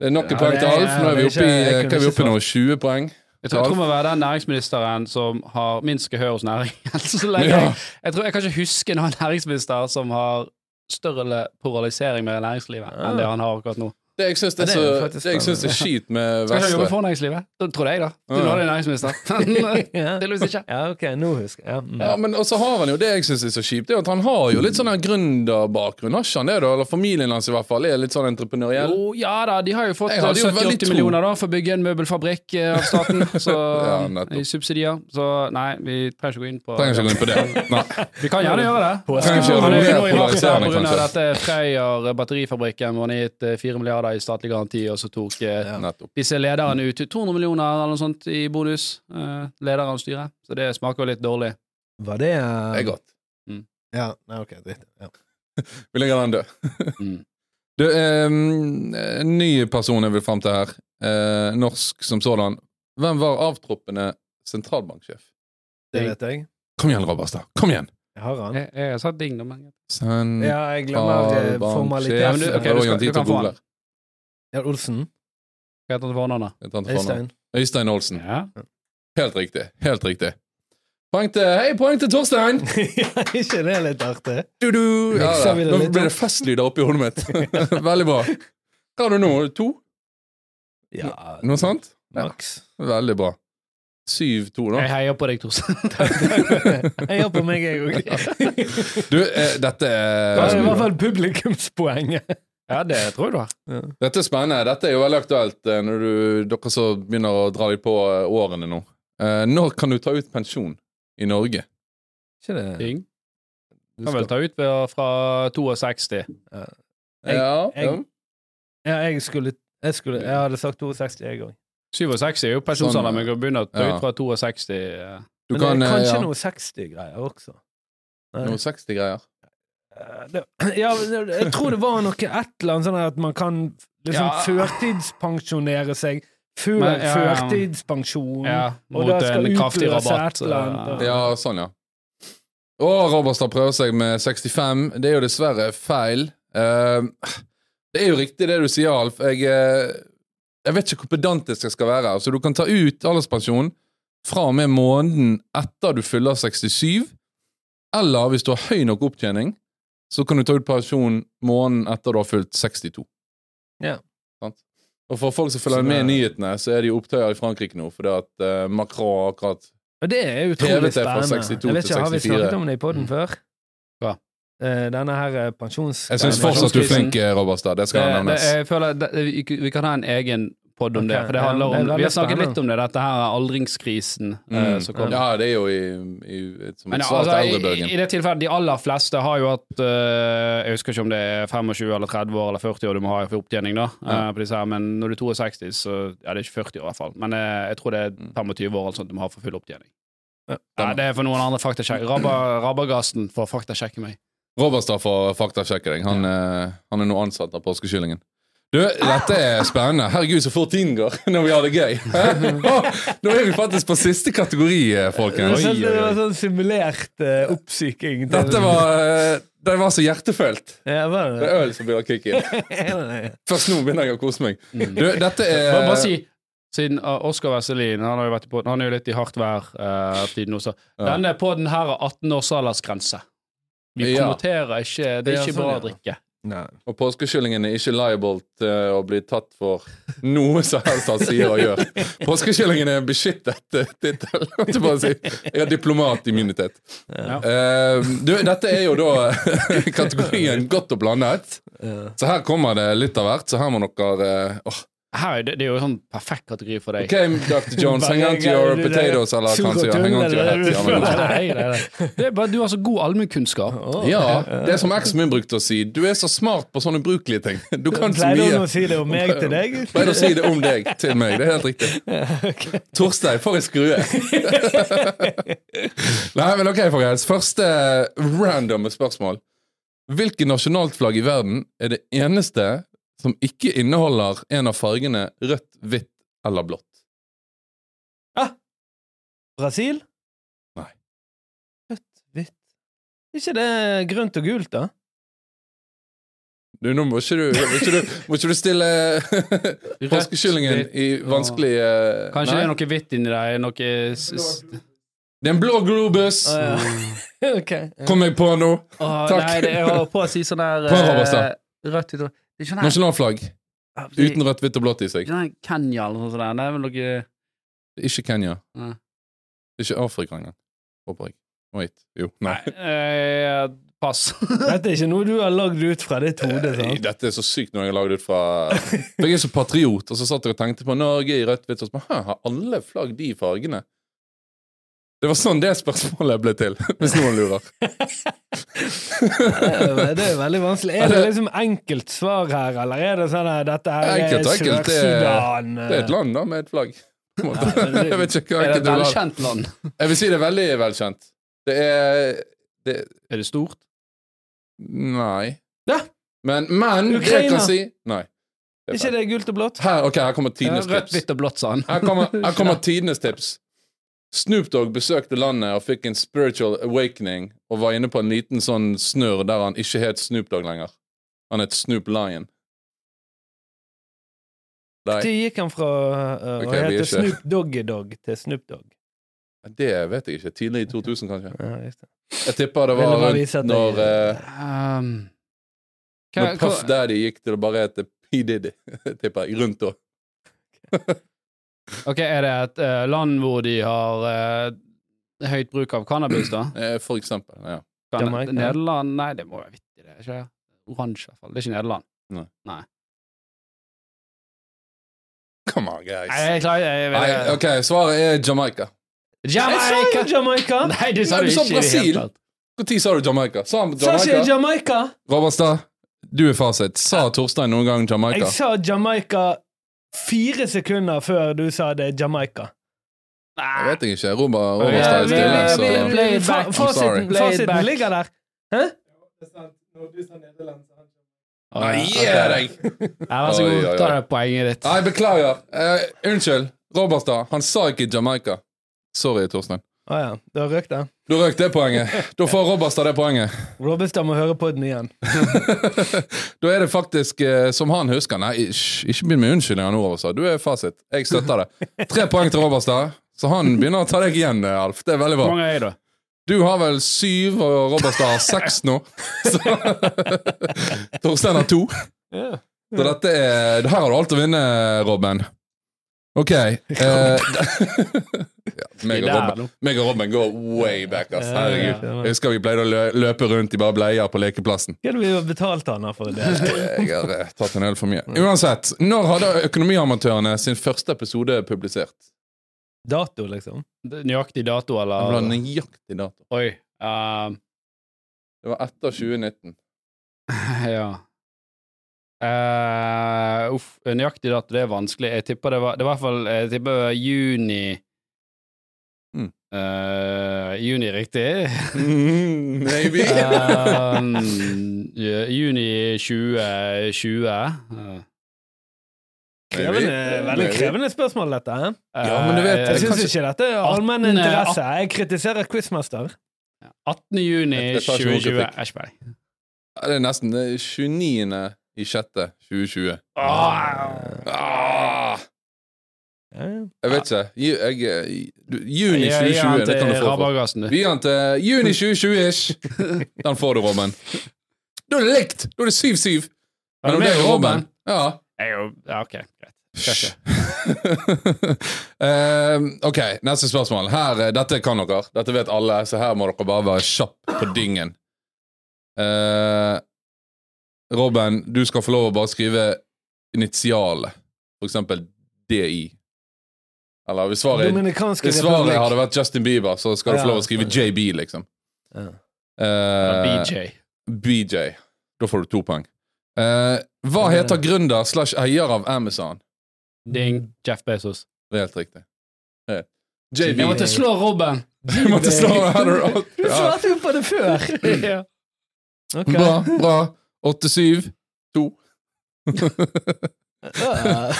C: Det er nok et
B: Ja,
C: poeng
B: det
C: til
B: er-
C: Alf. Nå er vi
B: det er
C: oppe
B: ikke-
C: i,
B: jeg
C: hva er vi
B: kunne
C: oppe i nå? 20 poeng?
A: Jeg tror jeg
C: Alf?
A: tror må være den næringsministeren som har minst gehør hos næringen. Så lenge
C: Ja.
A: jeg, jeg tror jeg kan ikke huske noen næringsminister som har større polarisering med næringslivet enn det han har akkurat nå.
C: Det jeg syns det er,
B: Ja, det er jo
C: så-
B: faktisk
C: det jeg syns er skit med
A: Skal ikke han
C: Vestre
A: jobbe for næringslivet? Da tror jeg, da. Du
C: Ja.
A: nå er det næringsminister. eh,
B: Ja.
A: Tydeligvis ikke.
B: Ja, ok, nå husker jeg. Ja, mm.
C: Ja, men også har han jo det jeg syns er så kjipt, det er at han har jo litt sånn her gründerbakgrunn. Har ikke han det, da? Eller familien hans i hvert fall er litt sånn entreprenøriell.
A: Jo, ja da, de har jo fått
C: Jeg hadde jo veldig
A: 70-80
C: tro.
A: millioner da for å bygge en møbelfabrikk eh, av staten. Så, eh,
C: Ja, nettopp.
A: I subsidier. Så nei, vi trenger ikke gå inn på
C: Trenger ikke å gå inn på det. Nei.
A: Vi kan gjerne gjøre det.
C: Trenger ikke å
A: Han er jo nå i hardt
C: roe
A: vær
C: polariserende,
A: på grunn av
C: kanskje.
A: dette Freyr batterifabrikken hvor han har gitt eh, 4 milliarder i statlig garanti, og så tok eh,
C: Nettopp.
A: disse lederne ut til 200 millioner eller noe sånt i bonus. Eh, lederen og styret. Så det smaker jo litt dårlig.
B: Var det eh,
C: Det er godt.
B: Ja, nei, ok, dritt. Ja.
C: Vi legger den død.
A: Mm.
C: Du, ehm, en ny person jeg vil fram til her. Eh, norsk som sådan. Hvem var avtroppende sentralbanksjef?
B: Det vet jeg.
C: Kom igjen, Robertstad. Kom igjen!
B: Jeg har han.
A: Jeg, jeg sa ding, da, men
C: Sen...
B: Ja, jeg glemmer eh,
A: Ja, men
B: formalitet.
A: du-
C: Jeg
A: ok, du
C: prøver å
A: skal-
C: gi han
A: du
C: tid til
A: kan
C: å
A: få
C: google.
A: han.
B: Ja, Olsen.
A: Hva heter han til fornavnet?
C: Jeg tar den til fornavn.
B: Øystein.
C: Øystein Olsen.
A: Ja.
C: Helt riktig. Helt riktig. Poeng til Hei, poeng til Torstein!
B: ikke det litt artig?
C: Du, du. Ja,
B: Mikser vi det
C: Nå
B: litt
C: ble
B: opp?
C: det festlyder oppi hodet mitt. Veldig bra. Hva har du nå? To?
B: Ja,
C: Noe sånt?
B: maks.
C: Veldig bra. Syv-to, da.
A: Jeg heier på deg, Torstein.
B: jeg gjør på meg, jeg òg.
C: Du, eh, dette er
B: Det er i hvert fall publikumspoenget.
A: Ja, det tror jeg du har.
C: Dette er spennende. Dette er jo veldig aktuelt eh, når du, dere så begynner å dra litt på eh, årene nå. Eh, når kan du ta ut pensjon i Norge?
B: Ikke det?
A: Ding.
B: Du
A: Kan vel
B: skal-
A: ta ut ved- fra 62.
B: Jeg-
C: ja,
B: jeg-
C: ja.
B: Ja, jeg skulle jeg, skulle, jeg hadde sagt 62, jeg òg.
A: 67 er jo pensjonsalder,
C: Sånn,
A: men vi kan begynne å ta
C: ja.
A: ut fra 62. eh.
C: Du
B: Men
C: kan
B: det er
C: eh,
B: kanskje
C: ja,
B: noe 60-greier også. Nei.
C: noe 60-greier.
B: Eh, det, ja, men det- jeg tror det var noe et eller annet sånn her at man kan liksom
A: Ja.
B: førtidspensjonere seg før
A: Men, ja, ja.
B: førtidspensjon.
A: Ja,
B: Mm. Og
A: mot
B: da skal
A: en kraftig
B: utløse
A: rabatt.
B: et eller annet.
C: Ja, sånn, ja. Og Robertstad prøver seg med 65. Det er jo dessverre feil. Eh, det er jo riktig det du sier, Alf. Jeg, eh, jeg vet ikke hvor pedantisk jeg skal være. Altså, du kan ta ut alderspensjon fra og med måneden etter du fyller 67, eller hvis du har høy nok opptjening, så kan du ta ut pensjon måneden etter du har fylt 62.
B: Ja.
C: Sant? Og for folk som følger med i nyhetene, så er det jo opptøyer i Frankrike nå, fordi at eh, Macron har akkurat
B: Og det er
C: Hevet
B: utrolig
C: det fra
B: spennende. Mm.
C: 62
B: Jeg vet ikke,
C: til
B: Har vi
C: 64?
B: snakket om det i poden før?
A: Hva?
B: Eh, Denne her eh, pensjons...
C: Jeg syns fortsatt du er flink, Robertstad. Det
A: Det,
C: skal
A: det,
C: nevnes.
A: jeg føler det, vi, vi kan ha en egen pod om
B: Ok,
A: det. For det
B: ja,
A: handler
B: det er
A: om,
B: veldig
A: vi har snakket
B: spennende.
A: litt om det, dette her er aldringskrisen eh, som
C: Mm.
A: kommer.
C: Ja, det er jo i, i, som
A: Men
C: et
A: ja,
C: svar
A: altså,
C: til
A: i, I
C: eldrebølgen.
A: det tilfellet, de aller fleste har jo hatt eh, Jeg husker ikke om det er 25 eller 30 år eller 40 år du må ha for opptjening, da. eh, på disse her, men når du er 62, så ja, det er ikke 40 år i hvert fall. Men eh, jeg tror det er
C: Mm.
A: 25 år eller sånt du må ha for full opptjening.
B: Ja.
A: Nei, det er for noen andre faktasjekk. Rabba, Rabagasten får faktasjekke meg.
C: Robertstad får faktasjekke deg. Han, eh, han er nå ansatt av påskekyllingen. Du, dette
A: Ah!
C: er spennende. Herregud, så fort tiden går når vi har det gøy. Hæ? Nå er vi faktisk på siste kategori, eh,
B: Det var
C: folkens.
A: Oi,
B: sånn, det
A: oi,
B: var
A: oi.
B: sånn simulert eh, oppsyking. til-
C: Dette var, eh, det var så hjertefølt.
B: ja, var
C: Det
B: det.
C: er øl som begynner å kicke inn.
B: det?
C: Først nå begynner jeg å kose meg.
A: Mm.
C: Du, dette
A: Bare,
C: er
A: bare si, siden uh, Oskar Vesselin han, har jo vært i podden, han er jo litt i hardt vær eh, tiden også.
C: Ja.
A: Denne podden her har 18 års aldersgrense. Vi
C: Ja.
A: promoterer ikke Det
C: Ja,
A: er ikke
C: sånn,
A: bra
C: ja.
A: å drikke.
B: Nei.
C: Og påskekyllingen er ikke liable til å bli tatt for noe som helst han sier og gjør. Påskekyllingen er en beskyttet eh, tittel. holdt jeg på å si. Jeg har diplomatimmunitet.
A: Ja.
C: Eh, du, dette er jo da kategorien godt og blandet.
B: Ja.
C: Så her kommer det litt av hvert, så her må dere eh, åh.
A: Her, er det, det er jo en sånn perfekt kategori for deg.
C: OK, Dr. Jones, hang on to your potatoes, eller kanskje hang on to your hat. Ja, men-
A: Nei, nei, nei. Det er bare, du har så god allmennkunnskap.
C: Ja, det er som eksen min brukte å si. Du er så smart på sånne ubrukelige ting. Du kan så
B: Pleide hun
C: mye.
B: å si det om meg til deg?
C: Pleide å si det om deg til meg. Det er helt riktig. Torstein, for en skrue! Nei, men ok, folkens. Første random spørsmål. Hvilket nasjonalt flagg i verden er det eneste som ikke inneholder en av fargene rødt, hvitt eller blått?
B: Brasil?
C: Nei.
B: Rødt, hvitt Ikke det grønt og gult, da?
C: Du, nå må ikke du, må ikke du, må ikke du stille påskekyllingen i vanskelig eh,
A: Kanskje det
C: nei?
A: er noe hvitt inni deg? Noe s s
C: Det er en blå globus!
B: Å, ja. ok.
C: Kom jeg på nå?
A: Åh,
C: Takk.
A: Nei, det, jeg holder på å si sånn der
C: Hva, Robertstad?
A: eh, Rødt utover. Det er ikke sånn
C: Nasjonalflagg.
A: her
C: Uten rødt, hvitt og blått i seg.
A: Ikke sånn Kenya eller noe sånt der. Det er vel noe
C: Ikke Kenya.
A: Nei.
C: Ikke Afrika engang. Håper jeg. Wait. Jo. Nei.
A: Eh, Pass.
B: Dette er ikke noe du har lagd ut fra ditt hode? sant?
C: Dette er så sykt når jeg har lagd ut fra For jeg er så patriot, og så satt jeg og tenkte på Norge i rødt, hvitt og så bare, «Hæ, Har alle flagg de fargene? Det var sånn det spørsmålet ble til, hvis noen lurer.
B: Det er veldig vanskelig. Er det liksom enkelt svar her, eller er det sånn at dette her er eh?
C: Enkelt og enkelt, det er-
B: Sør-Sudan?
C: Det er et land, da, med et flagg. På en måte.
A: men det-
C: Jeg vet ikke hva
A: Er det et
C: enkelt det var.
A: velkjent land?
C: Jeg vil si det er veldig velkjent. Det er det,
A: Er det stort?
C: Nei.
B: Ja.
C: Men, men det
B: Ukraina.
C: kan jeg si Nei. Det er
B: Ikke
C: feil.
B: det gult og blått?
C: Her, ok, her kommer
A: Ja,
C: tidenes
A: rødt,
C: tips.
A: hvitt og blått, sa han.
C: Her kommer, her kommer tidenes tips. Snoop Dogg besøkte landet og fikk en spiritual awakening og var inne på en liten sånn snurr der han ikke het Snoop Dogg lenger. Han het Snoop Lion. Nei,
B: Når gikk han fra uh, å
C: Ok, vi er
B: hete
C: ikke-
B: Snoop Doggy Dog til Snoop Dogg?
C: det vet jeg ikke. Tidlig i 2000, kanskje.
B: Ja, just det.
C: Jeg tipper det var
B: Ville bare vise at jeg-
C: rundt når, eh,
A: Um,
C: når
A: hva-
C: Puff
A: hva-
C: Daddy gikk til å bare hete P. Diddy. tipper jeg. Rundt da.
A: ok, Er det et eh, land hvor de har eh, høyt bruk av cannabis, da?
C: Eh, For eksempel. Ja.
A: Kan,
B: Jamaica.
A: Nederland? Nei, det må være vittig, det. er Ikke oransje, i hvert fall. Det er ikke Nederland.
C: Come on, guys.
A: Nei, jeg klarer jeg, jeg,
C: Nei, ok, svaret er Jamaica.
B: Jeg sa jo
A: Jamaica!
B: Jamaica!
A: Nei, du sa
C: Nei,
A: det ikke. i
C: du sa
A: det hele
C: Brasil.
A: tatt.
C: Når sa du Jamaica? Sa han
B: Sa ikke jeg
C: Jamaica?
B: Jamaica?
C: Robertstad, du er fasit. Sa Torstein noen gang Jamaica?
B: Jeg sa Jamaica fire sekunder før du sa det er Jamaica.
C: Jeg vet jeg ikke.
A: Ja,
C: Robert,
A: Nei,
C: Robertstad er
A: vi-
C: stille,
A: vi-
C: så
A: vi- Play it back, I'm sorry.
B: fasiten,
A: Play it back.
B: fasiten ligger der. Hæ?
C: Nei, gi deg!
A: Nei, vær så
C: Oi, oi,
A: god.
C: oi.
A: Ta det poenget ditt.
C: Nei, beklager. Eh, unnskyld. Robertstad, han sa ikke Jamaica. Sorry, Torstein.
B: Å ja, du har røkt den?
C: Du røk det poenget. Da får Robertstad det poenget.
B: Robbestad må høre på den igjen.
C: Da er det faktisk eh, som han husker. Nei, ish, ikke begynn med unnskyldninger nå, Robertstad. Du er fasit. Jeg støtter det. Tre poeng til Robertstad, så han begynner å ta deg igjen, eh, Alf. Det er veldig bra.
A: Hvor mange er jeg, da?
C: Du har vel syv, og Robertstad har seks nå. Så Torstein har to. Så dette er Her har du alt å vinne, Robben. Ok. Eh, ja, meg, og
A: Der,
C: Robben,
A: nå.
C: meg og Robben går way back,
B: Eh,
C: ass. Herregud.
B: Ja, ja.
C: Jeg husker vi pleide å lø- løpe rundt i bare bleier på lekeplassen.
B: Hva hadde vi betalt han her for? det?
C: Jeg har eh, tatt en øl for mye. Uansett, når hadde Økonomiamatørene sin første episode publisert?
B: Dato, liksom?
A: Det er Nøyaktig dato,
C: Det var
A: eller?
C: nøyaktig dato.
A: Oi. ehm,
C: Det var etter 2019.
A: ja. Eh, uff, nøyaktig dato, det er vanskelig. Jeg tipper det var, det var i hvert fall jeg tipper det var juni.
C: Mm.
A: Eh, juni, riktig.
C: Mm, maybe.
A: Um, Ehm, ja, juni 2020. Eh,
B: Krevende, eh,
C: Maybe.
B: veldig
C: Maybe.
B: krevende spørsmål, dette. hæ?
C: Ja, men du vet,
B: Jeg
A: Eh,
B: syns
A: kanskje
B: ikke dette er allmenn
A: 18, eh,
B: interesse. Jeg kritiserer Quizmaster.
A: 18. juni
C: Jeg tar ikke noe
A: 2020.
C: kritikk.
A: Er ikke peiling.
C: Ja, Det er nesten det er 29. i 6. 2020.
B: Ah.
C: Ah,
B: Ja, ja.
C: jeg vet ikke. Ju- Jeg, jeg, du- juni
A: Jeg gir han
C: 2020, det
A: til
C: kan du få. for.
A: Rabagassen, du.
C: Vi gir den til juni 2020-ish. Den får du, Robin. Da er det likt! Da er det 7-7.
A: Var det
C: Mellom
A: med
C: deg og
A: Robin?
C: Ja.
A: Jeg er jo- Ja, ok. Greit. Skal ikke.
C: Ehm, ok, neste spørsmål. Her, eh, dette kan dere. Dette vet alle, så her må dere bare være kjapp på dyngen. Eh, Robin, du skal få lov å bare skrive initialet. For eksempel DI. Eller hvis svaret,
B: Dominikanske
C: hvis svaret hadde
B: republikk.
C: vært Justin Bieber, så skal du få lov å skrive JB, liksom.
B: Ja.
C: Eh,
A: BJ.
C: BJ. Da får du to poeng. Eh, hva heter gründer slash eier av Amazon?
A: Ding. Jeff Bezos.
C: Det er helt riktig. Eh,
A: Jeg
C: JB.
A: måtte slå Robin!
C: Du måtte slå Heather opp.
B: Du
C: Ja.
B: svarte jo på det før!
A: Ja.
B: Ok.
C: Bra, bra. 8-7. To.
B: Ja.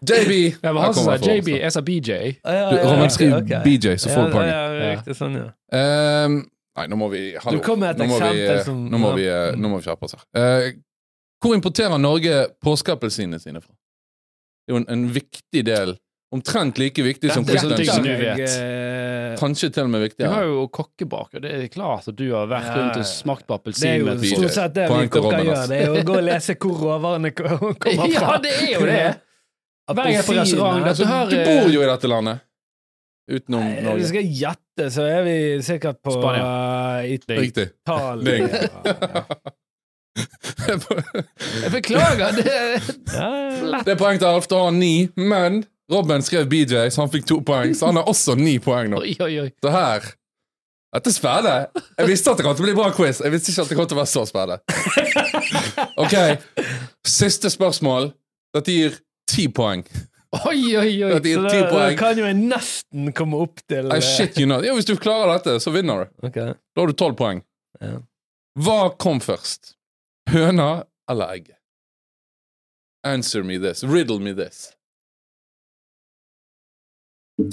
C: JB.
A: Ja, men
C: Her
A: han som sa
C: kommer jeg
A: JB,
C: fra.
A: jeg sa BJ.
B: Ja, ja,
C: Du,
B: ja,
C: Robin,
B: ja,
C: skriv
B: ok.
C: BJ, så får du
B: Ja,
C: poeng.
B: ja, ja, riktig, sånn, ja.
C: Ehm, nei, nå må vi Hallo.
B: Du kom med et
C: nå, må vi,
B: eksempel
C: eh,
B: som-
C: nå, må
B: ja.
C: vi, eh, nå må vi skjerpe oss her. Eh, hvor importerer Norge påskeappelsinene sine fra? Det er jo en, en viktig del. Omtrent like viktig som
A: Dette er sånne ting som du
B: Jeg,
C: Kristiansand.
A: vet.
B: eh,
C: Kanskje til og med
A: Du har
C: viktigere.
A: jo kokkebaker, det er klart at du har vært
B: Ja,
A: rundt
B: ja,
A: og
B: ja.
A: smakt på
B: Det er
A: appelsin.
B: jo
A: med-
C: BJ.
B: stort sett det vi
C: Poeng til
B: kokker
C: Robin,
B: gjør.
C: ass.
B: Det er å gå og lese hvor råvarene ko- kommer fra.
A: Ja, det er jo det! Hver gang jeg er på
B: Appelsin,
A: restaurant
B: ja.
A: dette her,
C: Du
A: eh,
C: bor jo i dette landet. Utenom
B: Nei, Hvis
C: Norge.
B: jeg skal gjette, så er vi sikkert på
A: Spania.
B: eh,
C: Riktig.
B: Italia.
A: Jeg beklager, det er
B: Ja, ja.
C: Det er poeng til Alf, da har han ni, men Robin skrev BJ, så han fikk to poeng. Så han har også ni poeng nå.
A: Oi, oi, oi.
C: Så her Dette er spennende. Jeg visste at det kom til å bli bra quiz. Jeg visste ikke at det kom til å være så spennende. Ok, siste spørsmål. Dette gir ti poeng.
A: Oi, oi, oi.
B: Så
C: Dette gir
B: da,
C: ti
B: da
C: poeng.
B: kan jo jeg nesten komme opp til eh,
C: I shit you not. Ja, hvis du klarer dette, så vinner du.
B: Ok.
C: Da har du tolv poeng.
B: Ja.
C: Hva kom først? Høna eller egg? Answer me this. Riddle me this.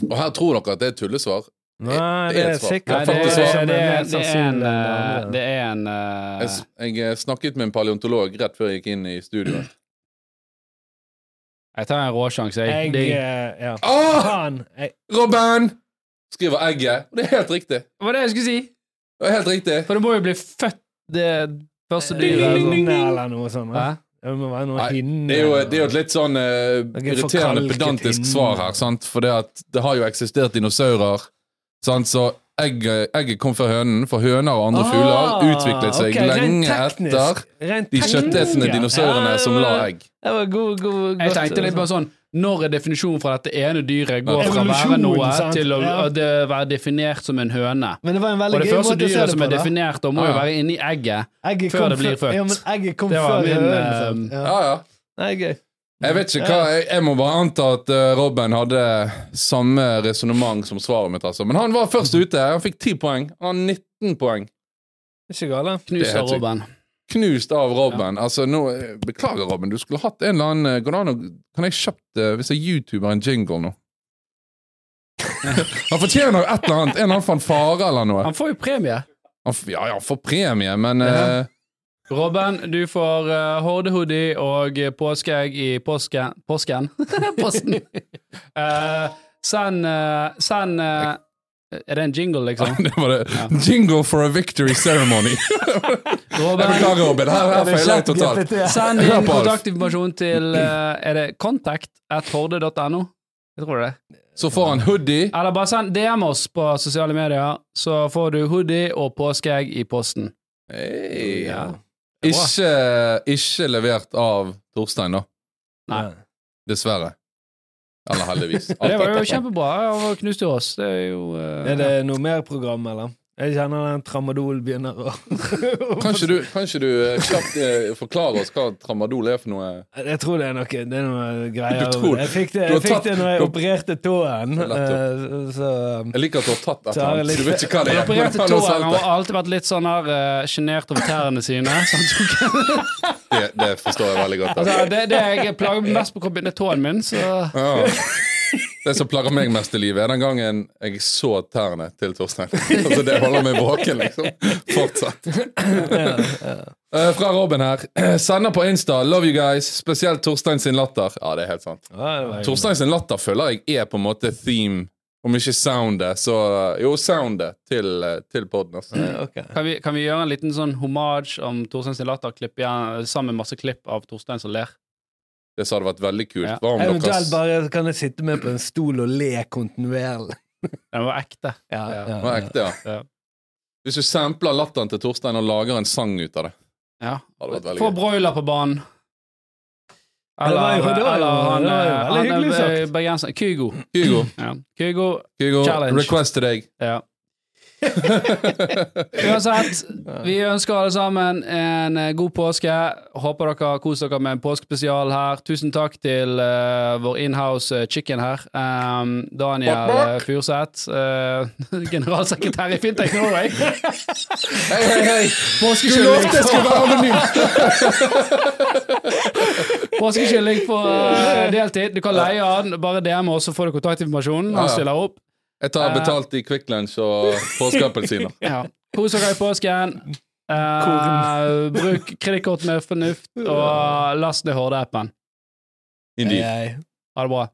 C: Og her tror dere at det er tullesvar.
B: Nei,
C: Det
B: det
C: er
B: er
C: et svar.
A: Nei,
B: sikkert
A: det,
C: faktisk
A: er,
C: var-
A: det, er, det er en eh,
B: sannsynlig enn det andre.
A: Det er en eh,
C: Jeg, s- jeg snakket med en paleontolog rett før jeg gikk inn i studio.
A: Jeg tar en råsjanse, jeg.
B: Jeg,
A: Det,
B: eh, ja.
C: Åh,
B: Faen! Jeg,
C: Ah, Robin! Skriver egget. Og det er helt riktig.
A: det var det jeg skulle si!
C: Det er helt riktig.
A: For det må jo bli født det første
B: det
A: dyret.
B: er
A: eller noe.
B: hinne eller noe sånt.
A: Hæ?
B: da. Det må være noe
C: Nei,
B: hinne.
C: Det er jo, det er jo et litt sånn eh,
B: Det er ikke
C: irriterende
B: forkalket
C: pedantisk
B: inn.
C: svar her, sant? for det, at, det har jo eksistert dinosaurer. Sant? Så egget, egget kom fra hønen, for høner og andre fugler utviklet
B: Ah,
C: seg
B: ok, rent
C: lenge
B: teknisk.
C: etter
B: Rent
C: de
B: teknisk,
C: kjøttetende
B: ja.
C: dinosaurene
B: Ja, det
C: som la
B: var-
C: egg.
B: Det var god, god,
A: Jeg
B: godt-
A: tenkte litt bare sånn Når er definisjonen fra dette ene dyret går fra å være
B: Evolusjon,
A: noe
B: sant?
A: til å
B: Ja.
A: å det være definert som en høne?
B: Men det var en veldig
A: Og det
B: gøy
A: første
B: måte å se
A: dyret
B: det
A: som
B: på.
A: er
B: da.
A: definert, da må
C: Ja,
A: jo
C: ja.
A: være inni egget.
B: Egget
A: før
B: kom
A: det blir
B: før-
A: født.
B: Ja, men egget kom
A: Det var
B: før
A: min,
B: hønen. sant? Ja.
C: Ja, ja.
B: Nei, gøy.
C: Jeg vet ikke hva, jeg, jeg må bare anta at eh, Robin hadde samme resonnement som svaret mitt. Altså. Men han var først ute. Han fikk 10 poeng. Han har 19 poeng.
B: Ikke gale.
C: Det er
A: Knus
C: helt
A: av
C: sykt.
A: Robin.
C: Knust av Robin. Altså, nå, eh, beklager, Robin. Du skulle hatt en eller annen eh, Går det an å Kan jeg kjøpt eh, Hvis jeg YouTuber en jingle nå? han fortjener jo et eller annet. En eller annen fanfare eller noe.
A: Han får jo premie.
C: Han, f- ja, ja, han får premie, men eh,
A: Robin, du får uh, hordehoodie og påskeegg i påske, påsken. Posten. Eh, send eh, send eh, Er det en jingle, liksom?
C: Det var det. Jingle for a victory ceremony. Jeg
A: Robin,
C: beklager, Robin. Her her feiler jeg totalt.
A: send
C: Hør
A: inn
C: på Alf.
A: kontaktinformasjon til eh, Er det contact at horde.no? Jeg tror det.
C: Så får han hoodie.
A: Eller bare send DM oss på sosiale medier, så får du hoodie og påskeegg i posten.
C: Hey.
A: Ja.
C: Ikke, ikke levert av Torstein, da.
A: Nei.
C: Dessverre. Eller heldigvis. Alt
A: Det var jo
C: etterpå.
A: kjempebra. Han knuste jo oss. Det er jo eh,
B: Er det noe mer program, eller? Jeg kjenner den tramadol begynner å
C: Kanskje du, kanskje du eh, kjapt eh, forklarer oss hva tramadol er for noe?
B: Jeg tror det er noe, det er noe greier.
C: Du tror-
B: jeg fikk det,
C: du har
B: jeg fikk
C: tatt-
B: det når
C: du
B: jeg
C: har-
B: opererte tåen.
C: Nettopp.
B: eh, Så
C: Jeg liker at du har tatt et
B: Så har jeg
C: eller annet, så du
B: litt-
C: vet ikke hva det
A: Han
C: er. men
A: opererte
C: han har
A: tåen. Han eh,
C: solgt det.
A: sånn har alltid vært litt sånn her sjenert over tærne sine. Så han tok
C: Det, det forstår jeg veldig godt.
A: Altså,
C: Altså.
A: det, det jeg plager meg mest på kroppen, er tåen min, så
C: Ja. Det som plager meg mest i livet, er den gangen jeg så tærne til Torstein. Altså, det holder meg våken, liksom. Fortsatt. Eh, Fra Robin her. Eh, Sender på Insta. Love you guys. Spesielt Torstein sin latter. Ja, det er helt sant.
B: Ja, det var jo-
C: Torstein sin latter føler jeg er på en måte theme, om ikke soundet, så eh, Jo, soundet til, til podden, altså.
B: Ok.
A: kan vi, kan vi gjøre en liten sånn homage om Torstein sin latterklipp igjen, sammen med masse klipp av Torstein som ler?
C: Det hadde vært veldig kult.
A: Ja.
C: Hva om
B: Eventuelt
C: deres
B: bare kan jeg sitte med på en stol og le kontinuerlig.
A: Den var ekte.
B: Ja, ja,
C: Det var ekte, ja.
A: Ja.
C: Hvis du sampler latteren til Torstein og lager en sang ut av det
A: Ja.
C: Hadde vært veldig
A: Få
C: gøy.
A: broiler på banen. Eller,
B: Ja, det var jo- det var jo-
A: eller han, eh,
B: det var jo veldig
A: han,
B: hyggelig
A: er
B: sagt.
A: bergenser. Kygo.
C: Kygo,
A: Ja. Kygo.
C: Kygo
A: Challenge.
C: request til deg.
A: Ja. Uansett, vi ønsker alle sammen en eh, god påske. Håper dere har kost dere med en påskespesial her. Tusen takk til eh, vår inhouse eh, chicken her, em, Daniel
C: Bak, bak.
A: eh, Furseth. eh, generalsekretær i Fintech Norway.
C: Hei, hei, hei!
A: Påskekylling
C: Det skal være anonymt!
A: Påskekylling på eh, deltid. Du kan leie han, bare DM oss, så får du kontaktinformasjonen.
C: Ja,
A: Han
C: ja.
A: stiller opp.
C: Jeg tar betalt i Quick Lunch og påskeappelsiner.
A: Ja. Kos dere i påsken. Eh, bruk kredittkort med fornuft, og last ned Horde-appen.
C: Indeed.
B: Nei.
A: Ha det bra.